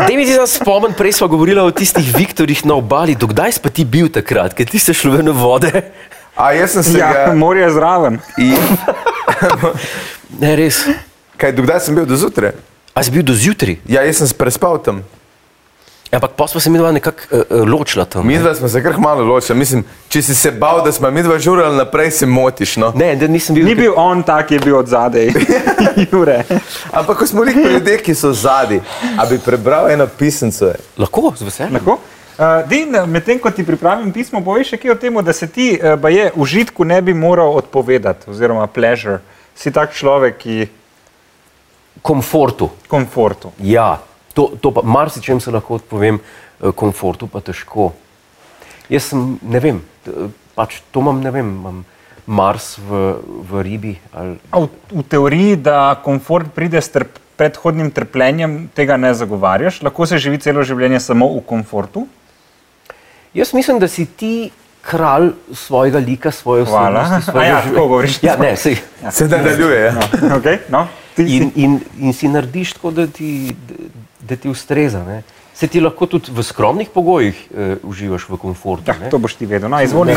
B: Dej mi ti za spomen, prej smo govorili o tistih viktorjih na obali, dokdaj si pa ti bil takrat, ker ti si šel ven v vode.
D: A jaz sem se
C: Ja,
D: ga...
C: morje je zraven.
D: I,
B: Ne, res.
D: kaj, dokdaj sem bil do zjutraj?
B: A si bil do zjutraj,
D: Ja, jaz sem se prespal tam.
B: ampak pa smo se mi dva nekako uh, uh, ločila tam.
D: Mi dva smo se kar malo ločili. Mislim, če si se bal, da smo mi dva žurali naprej, se motiš. No?
B: Ne, ne, nisem bil.
C: Ni bil on tak, je bil od zadej. Jure.
D: Ampak ko smo rekli ljudje, ki so zadaj, a bi prebral eno pisemco.
B: Lahko, z veseljem.
C: Lahko? Uh, Din, medtem ko ti pripravim pismo, poveš še kaj o tem, da se ti uh, baje užitku ne bi moral odpovedati, oziroma pleasure. Si tak človek, ki
B: Komfortu.
C: komfortu.
B: Ja, to, to pa marsičem se lahko odpovem, eh, komfortu pa težko. Jaz sem, ne vem, t- pač to imam, ne vem, imam Mars v, v ribi. Ali,
C: A V, v teoriji, da komfort pride s trp, predhodnim trpljenjem, tega ne zagovarjaš. Lahko se živi celo življenje samo v komfortu.
B: jaz mislim, da si ti kralj svojega lika, svoje
C: Hvala.
B: osebnosti,
C: A
B: svojega
C: ja, tako govoriš.
B: Ja, ne, sej,
D: Se nadaljuje. Ja.
C: Okay? No? Ti, si-
B: in, in, in si narediš tako, da ti, da ti ustreza. Ne? Se ti lahko tudi v skromnih pogojih eh, uživaš v komfortu.
C: Ja,
B: ne?
C: to boš ti vedel. No, izvoli.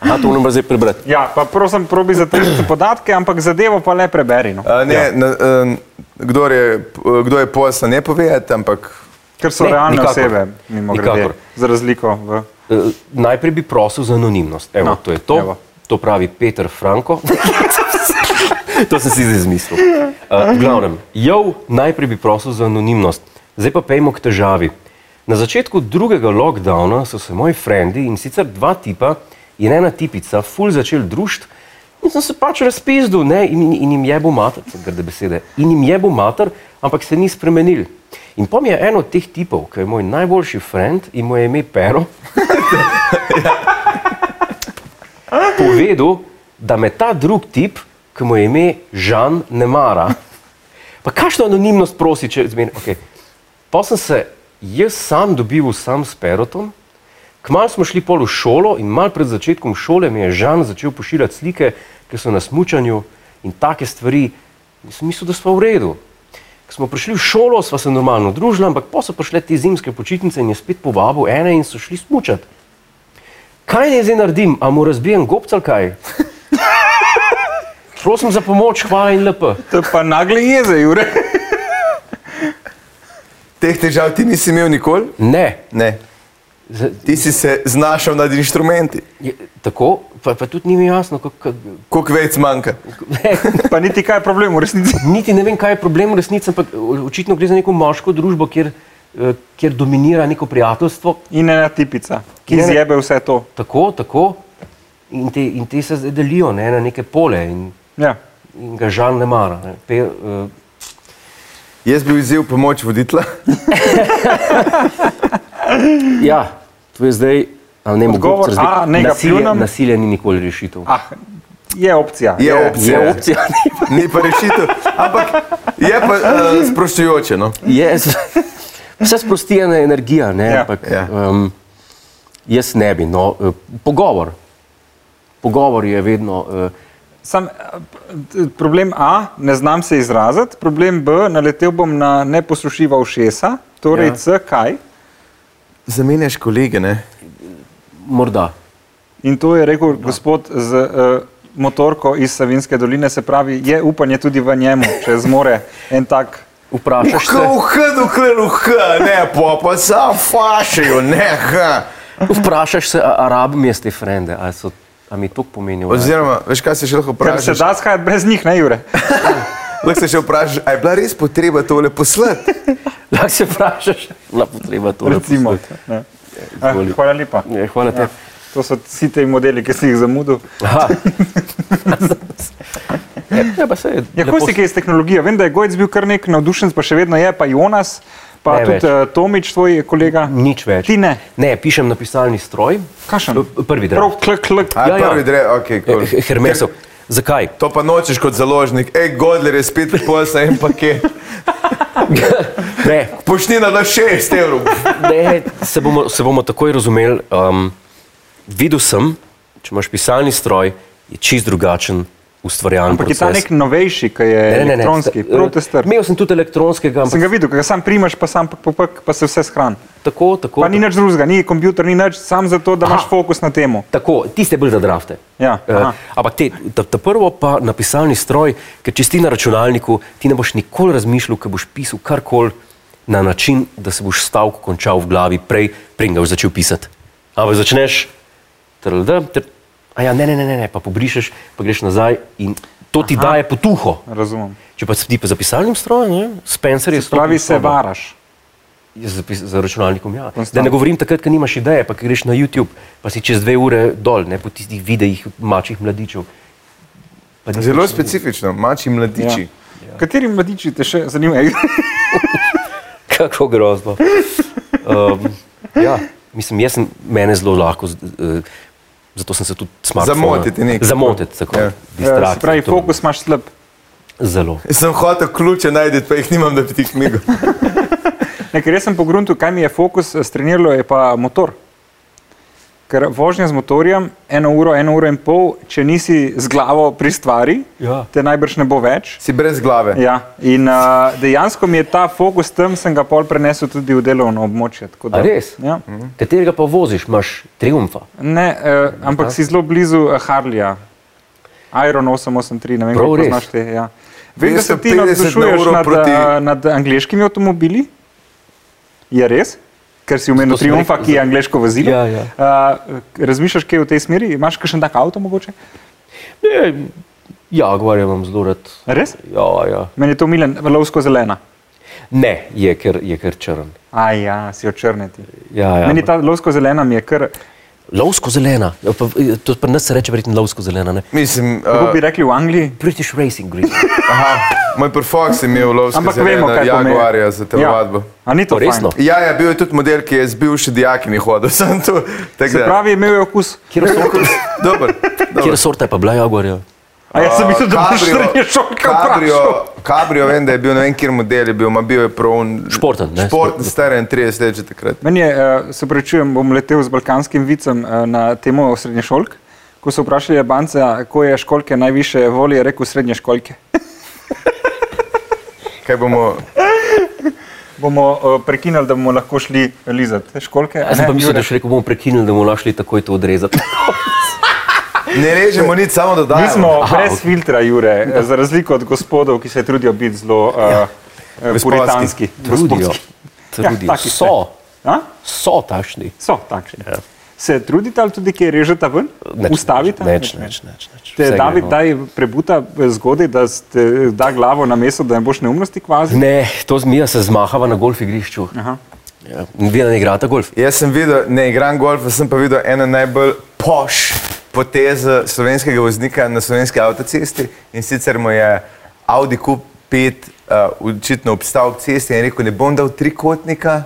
B: Aha, to moram zdaj prebrati.
C: Ja, pa prosim, probi za te podatke, ampak zadevo pa le preberi. No.
D: A, ne, ja. na, um, kdor je, eh, kdo je posla, ne povedati, ampak
C: Ker so
B: Ne,
C: ne, realne
B: nikakor.
C: nikakor. osebe, mimo grede,
B: Nikakor.
C: za razliko v
B: Eh, najprej bi prosil za anonimnost. Evo, no,
C: No,
B: to je to. Evo.
C: evo.
B: To pravi Peter Franko. to sem si zdaj izmislil. Uh, v glavnem, jov, najprej bi prosil za anonimnost. Zdaj pa pejmo k težavi. Na začetku drugega lockdowna so se moji frendi in sicer dva tipa in ena tipica ful začel družiti in sem se pač razpizdil ne, in, in jim je bo mater, so grde besede, in jim je bo mater, ampak se ni spremenil. In pom je en od teh tipov, ki je moj najboljši frend in mu je ime Pero, povedal, da me ta drug tip, ki mu je ime Žan, ne mara. Pa kakšno anonimnost prosi, če zmeni? Okay. Pa sem se jaz sam dobil sam s Perotom, kmalo smo šli pol v šolo in mal pred začetkom šole mi je Žan začel pošiljati slike, ki so na smučanju in take stvari. In sem mislil, da smo v redu. Ko smo prišli v šolo, sva se normalno družila, ampak pa so prišle te zimske počitnice in je spet povabil ene in so šli smučati. Kaj naj zdaj naredim, a mu razbijem gobca ali kaj? Prosim za pomoč, hvala in lepo.
C: to je pa nagle jeze, Jure.
D: teh težav ti nisi imel nikoli.
B: Ne,
D: Ne.
B: Z,
D: Ti si se znašel nad inštrumenti,
B: je, tako, pa, pa tudi ni mi jasno, kako. Kak,
D: koliko več manjka.
B: ne,
C: Pa niti kaj je problem v resnici.
B: niti ne vem, kaj je problem v resnici, ampak o- očitno gre za neko moško družbo, kjer, eh, kjer dominira neko prijateljstvo.
C: In ena tipica, ki
B: Ne, ne.
C: zjebe vse to.
B: Tako, tako. In te, in te se zdaj delijo ne, na neke pole in,
C: Ja.
B: in ga žal ne mara. Ne. Pe, uh,
D: Jaz bi vzel pomoč voditla.
B: ja, to je zdaj. ali Ne,
C: Odgovor
B: mogoče zdaj-
C: A, ne, ga
B: nasilje,
C: pljunem.
B: nasilje ni nikoli rešitev.
C: Ah, je opcija.
D: Ja, Je
B: Je
D: opcija.
B: opcija.
D: Ni pa rešitev, ampak je pa uh, sproščujoče. No?
B: Je, s- vse sprosti ena energija, ne, ja,
C: Ja.
B: ampak ja.
D: Ja.
B: Um, jaz ne bi. No, eh, pogovor. Pogovor je vedno. Uh,
C: Sam, eh, p- problem A, ne znam se izraziti, problem B, naletel bom na neposlušljiva ušesa, torej
B: Ja.
C: ja. C, kaj.
D: Zamenjaš kolege, ne?
B: morda.
C: In to je rekel no. gospod z uh, motorko iz Savinske doline, se pravi, je upanje tudi v njemu, če zmore en tak.
B: Vprašaš se,
D: Kuh, duh, kuh, ne, pa pa sam fašijo, ne, ha.
B: vprašaš se, a, a rabim jaz te frende, a, so, a mi to pomenijo. ali?
D: Oziroma, veš kaj se še lahko
C: Ker se
D: vprašaš?
C: da shajati brez njih, ne Jure.
D: Lahko se še vprašaš, a je bila res potreba tole poslati?
B: Lahko se vprašaš, la potreba to.
C: Recimo. Ne. Eh,
B: Izvoli.
C: Hvala lepa.
B: Ja, hvala tebi.
C: To so vsi ti modeli, ki si jih zamudil.
B: Aha. ja, pa se je.
C: Ja,
B: lepo
C: kako si kaj s tehnologijo? Vem, da je Gojc bil kar nek navdušen, pa še vedno je, pa Jonas, pa
B: Ne
C: ne tudi
B: več.
C: več. Tomič, tvoj kolega.
B: Nič več.
C: Ti ne.
B: Ne, pišem na pisalni stroj.
C: Kakšen?
B: P- Prvi
C: Prav,
B: draft.
C: klik, klik.
D: A,
B: Ja,
D: ja,
B: ja.
D: prvi ja. dre, ok, cool.
B: Eh, Hermesov. Zakaj?
D: To pa nočeš kot založnik, ej, Godler je spet posla en paket.
B: Ne,
D: Poštnina na 6 evrov.
B: ne, se bomo, se bomo takoj razumeli. Um, videl sem, če imaš pisalni stroj, je čist drugačen ustvarjalen
C: Ampak je
B: proces.
C: ta nek novejši, ki je
B: Ne, ne, ne,
C: elektronski,
B: sta- uh,
C: protester.
B: Imel sem tudi elektronskega,
C: Sem
B: ampak
C: ga videl, ki ga sam primaš, pa sam pa, pa, pa, pa se vse shrani.
B: tako, tako.
C: Pa ni nič drugega, ni komputer, ni nič, sam zato, da imaš
B: Aha.
C: fokus na temo.
B: Tako, tiste bolj za drafte.
C: Ja,
B: Eh,
C: aha.
B: ampak te, ta, ta prvo pa napisalni stroj, ker če si ti na računalniku, ti ne boš nikoli razmišljal, ker boš pisal karkoli na način, da se boš stavek končal v glavi prej, preden ga boš začel pisati. Ampak začneš, trlda, tr, a ja, ne, ne, ne, ne, ne, pa pobrišeš, pa greš nazaj in to ti aha. daje potuho.
C: Razumem.
B: Če pa si ti pa za pisalnim strojem, ne, Spencer je stopil
C: Pravi
B: v
C: se
B: sobo.
C: varaš.
B: Ja, Za, pis- za računalnikom, ja. Da ne
C: Konstantno.
B: govorim takrat, ko nimaš ideje, pa ko greš na YouTube, pa si čez dve ure dol, ne po tistih videih mačjih mladičev. Pa ni
D: Zelo
B: nič.
D: specifično, mači mladiči. Ja.
C: Ja. Kateri mladiči te še zanimajo?
B: Kako grozno. Um, ja, mislim, jaz sem, mene zelo lahko, z- eh, zato sem se tudi smartphone.
D: Zamotiti nekaj.
B: Zamotiti, tako.
D: Ja.
B: Ja.
D: Ja,
C: Ja, se pravi, fokus imaš slab.
B: Zelo.
D: Sem hotel ključe najti, pa jih nimam, da bi ti knjigo.
C: Ne, ker jaz sem pogruntil, kaj mi je fokus streniralo, je pa motor. Ker vožnja z motorjem, eno uro, eno uro in pol, če nisi z glavo pri stvari,
B: Ja.
C: te najbrž ne bo več.
D: Si brez glave.
C: Ja, in uh, dejansko mi je ta fokus tam, sem ga pol prenesel tudi v delovno območje. tako da-
B: A res?
C: Ja.
B: Katerega pa voziš, imaš triumfa.
C: Ne, uh, ampak si zelo blizu eh, Harlija, Iron 883, ne vem,
B: Prav
C: kako
B: res?
C: znaš te. Ja. Vem, da se ti
D: 250 na
C: navdušuješ
D: uro
C: nad,
D: proti-
C: proti... nad angliškimi avtomobili. Je res? Ker si omenil
B: To sem
C: Triumfa,
B: rekel,
C: ki je angliško vozilo.
B: Ja, ja.
C: Uh, razmišljaš kaj v tej smeri? Imaš kakšen tak avto mogoče?
B: Ne, ja, Jaguar imam zelo rad.
C: Res?
B: Ja, ja.
C: Meni je to milen, lovsko zelena.
B: Ne, je ker, je ker črn.
C: A ja, si očrneti.
B: Ja, ja,
C: Meni ta lovsko zelena mi je kar,
B: Lovsko zelena, Ja, pa, eh, to pri nas se reče verjetno lovsko zelena, ne?
D: Mislim,
C: kako
D: uh,
B: Eh,
C: bi rekli v Angliji,
B: British Racing Green.
D: aha, moj prfoks je imel lovsko
C: ampak vemo,
D: zeleno
C: kaj pomeni.
D: jaguarja za telovadbo.
C: Ja. A ni to
B: To resno?
C: fajn?
D: Ja. ja, bil je tudi model, ki je z bivši dijakini hodil, sem tu. Tako
C: Se
D: da-
C: pravi, imel je okus.
B: Kjer sorta,
D: Dober.
B: kjer sorta je pa bila Jaguarja?
C: A jaz sem mislil, da boš
D: Eh, Cabrio-
C: srednje šolka vprašal.
D: Cabrio, cabrio, vem, da je bil ne vem, kjer model je bil, ma bil je pravn.
B: Športen, ne?
D: Športen, star je 31 let že takrat.
C: Meni je, eh, se prečujem, bom letel z balkanskim vicem eh, na temo srednje šolk. Ko so vprašali Banca, ko je školke najviše voli, je rekel srednje školke.
D: Kaj bomo,
C: Bomo eh, prekinili, da bomo lahko šli lizati školke. a
B: Jaz sem
C: ne,
B: pa mislil,
C: Jure?
B: da še rekel, bomo prekinili, da bomo lahko šli takoj to odrezati.
D: ne režemo nič, samo
C: Mi
D: dodajamo.
C: smo
B: Aha,
C: brez
B: ok.
C: filtra, Jure, eh, za razliko od gospodov, ki se trudijo biti zelo ja.
D: Gospodski.
C: puritanski.
B: Trudijo.
C: gospodski.
B: Trudijo.
C: Ja, taki ste.
B: so,
C: A?
B: so tašni.
C: So takšni.
B: Ja.
C: Se trudite ali tudi kje režete ven? Ustavite?
B: Neč, neč, neč. neč.
C: Te
B: Vse
C: David
B: gre, no.
C: daj prebuta zgodaj, da ste, da glavo na mesto, da ne boš neumnosti kvazi.
B: Ne, to zmija se zmahava na golf igrišču.
C: Aha.
B: Ja, vi ne igrate golf.
D: Jaz sem videl, ne igram golfa, sem pa videl eno najbolj poš potez slovenskega voznika na slovenski avtocesti in sicer mu je Audi Q5 uh, očitno obstal ob cesti in je rekel, ne bom dal trikotnika,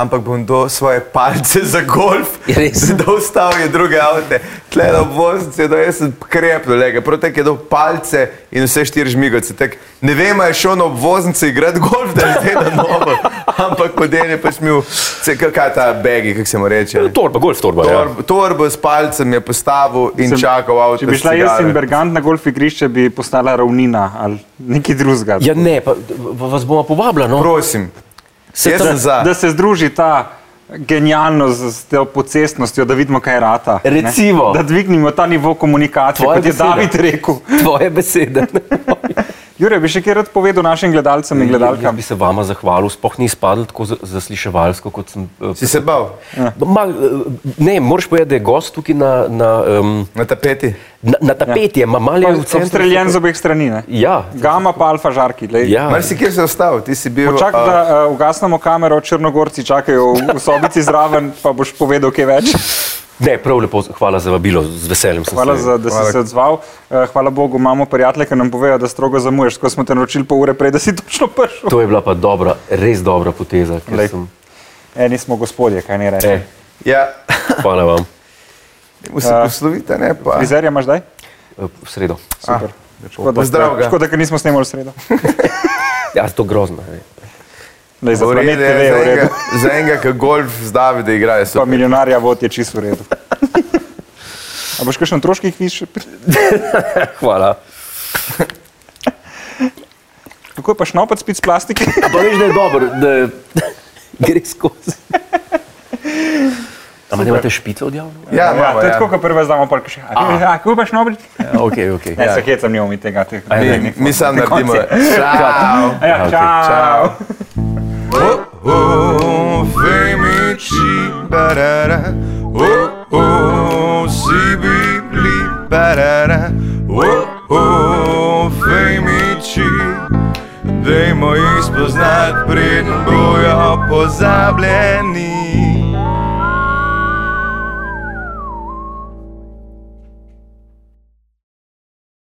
D: ampak bom dal svoje palce za golf,
B: Je res?
D: da ustavil je druge avte. Tle na obvoznici, da jaz sem krepil, lega, prav tako je dal palce in vse štiri žmigoce. Tak, ne vem, a je šel na obvoznici igrati golf, da je zdaj na novo, ampak podel je pač imel, se kakaj ta begi, kako se mu reče.
B: Torba, golf torba. Ja.
D: Torb, torbo s palcem je postavil in Sem, čakal avto.
C: Če bi šla
D: s
C: jaz in
D: cigare.
C: Bergant na golf igrišče, bi postala ravnina ali nekaj drugega.
B: ja, ne, pa v- vas bomo povabila, no.
D: Prosim,
B: Se
D: jaz
B: tra-
D: sem za.
C: Da se združi ta genialnost z s to pocestnostjo, da vidimo, kaj je rata. ne.
B: Recimo.
C: Da dvignimo ta nivo komunikacije,
B: Tvoja
C: kot je
B: beseda.
C: David rekel.
B: Tvoje besede.
C: Jure, bi še kaj rad povedal našim gledalcem in
B: Jaz
C: gledalkam?
B: bi se vama zahvalil, spoh ni izpadlo tako za- zasliševalsko, kot sem. eh,
D: Si se bal
C: Ja.
B: Ma, eh, ne, moraš povedati, da je gost tukaj na, na, em,
D: na tapeti?
B: na, na tapeti, ja. malo je v centru.
C: Obstreljen z obeh strani. Ne?
B: Ja,
C: Gama pa alfa žarki. lej.
B: ja.
D: Mar si kjer se ostal, ti si bil.
C: Počak,
D: a,
C: da uh, ugasnemo kamero, črnogorci čakajo v, v sobici zraven, pa boš povedal kaj več.
B: Ne, prav lepo, hvala za vabilo, z veseljem sem
C: Hvala,
B: se.
C: za, da si
D: Hvala.
C: se odzval. Eh, Hvala Bogu, imamo prijatelje, ki nam povejo, da strogo zamujaš, ko smo te naročili pol ure prej, da si točno prišel.
B: To je bila pa dobra, res dobra poteza, ker
C: Lej.
B: sem.
C: Eni smo gospodje, kaj ne
B: E,
C: rečeš.
D: Ja,
B: hvala vam.
D: mu se
C: A,
D: poslovite, ne pa.
C: Frizerja imaš zdaj?
B: Eh, V sredo.
C: Super. Škoda,
D: Pozdrav ga.
C: škoda, ker nismo snemali v sredo.
B: Ja, to grozno. Ne.
C: Lej, za
D: V
C: planet
D: redu je,
C: TV je
D: za
C: v redu.
D: enega- Za enega, ki golf z Davide igrajo.
C: Pa
D: super.
C: milijonarja vod je čist v redu. A boš kakšen otroški kviz? še pri-
B: Hvala.
C: Kako je pa šnopac spit s plastike?
B: Pa veš, da je dobro, da je- gre skozi. Ampak imate špico odjavljeno?
D: Ja,
C: ja,
D: imamo,
C: to je tako,
D: ja.
C: kot prvo znamo, pa še. A kako pa šnopac?
B: Ja, ok, ok.
C: Ne, se hecam, nimamo mi tega. teh-
D: Mi, mi sam naredimo. Čau.
C: Ja,
B: okej,
C: čau.
D: Čau. Oh, femiči, barara. Oh, oh, si bibli, barara. Oh, oh, femiči. Dajmo jih spoznat, preden bojo pozabljeni.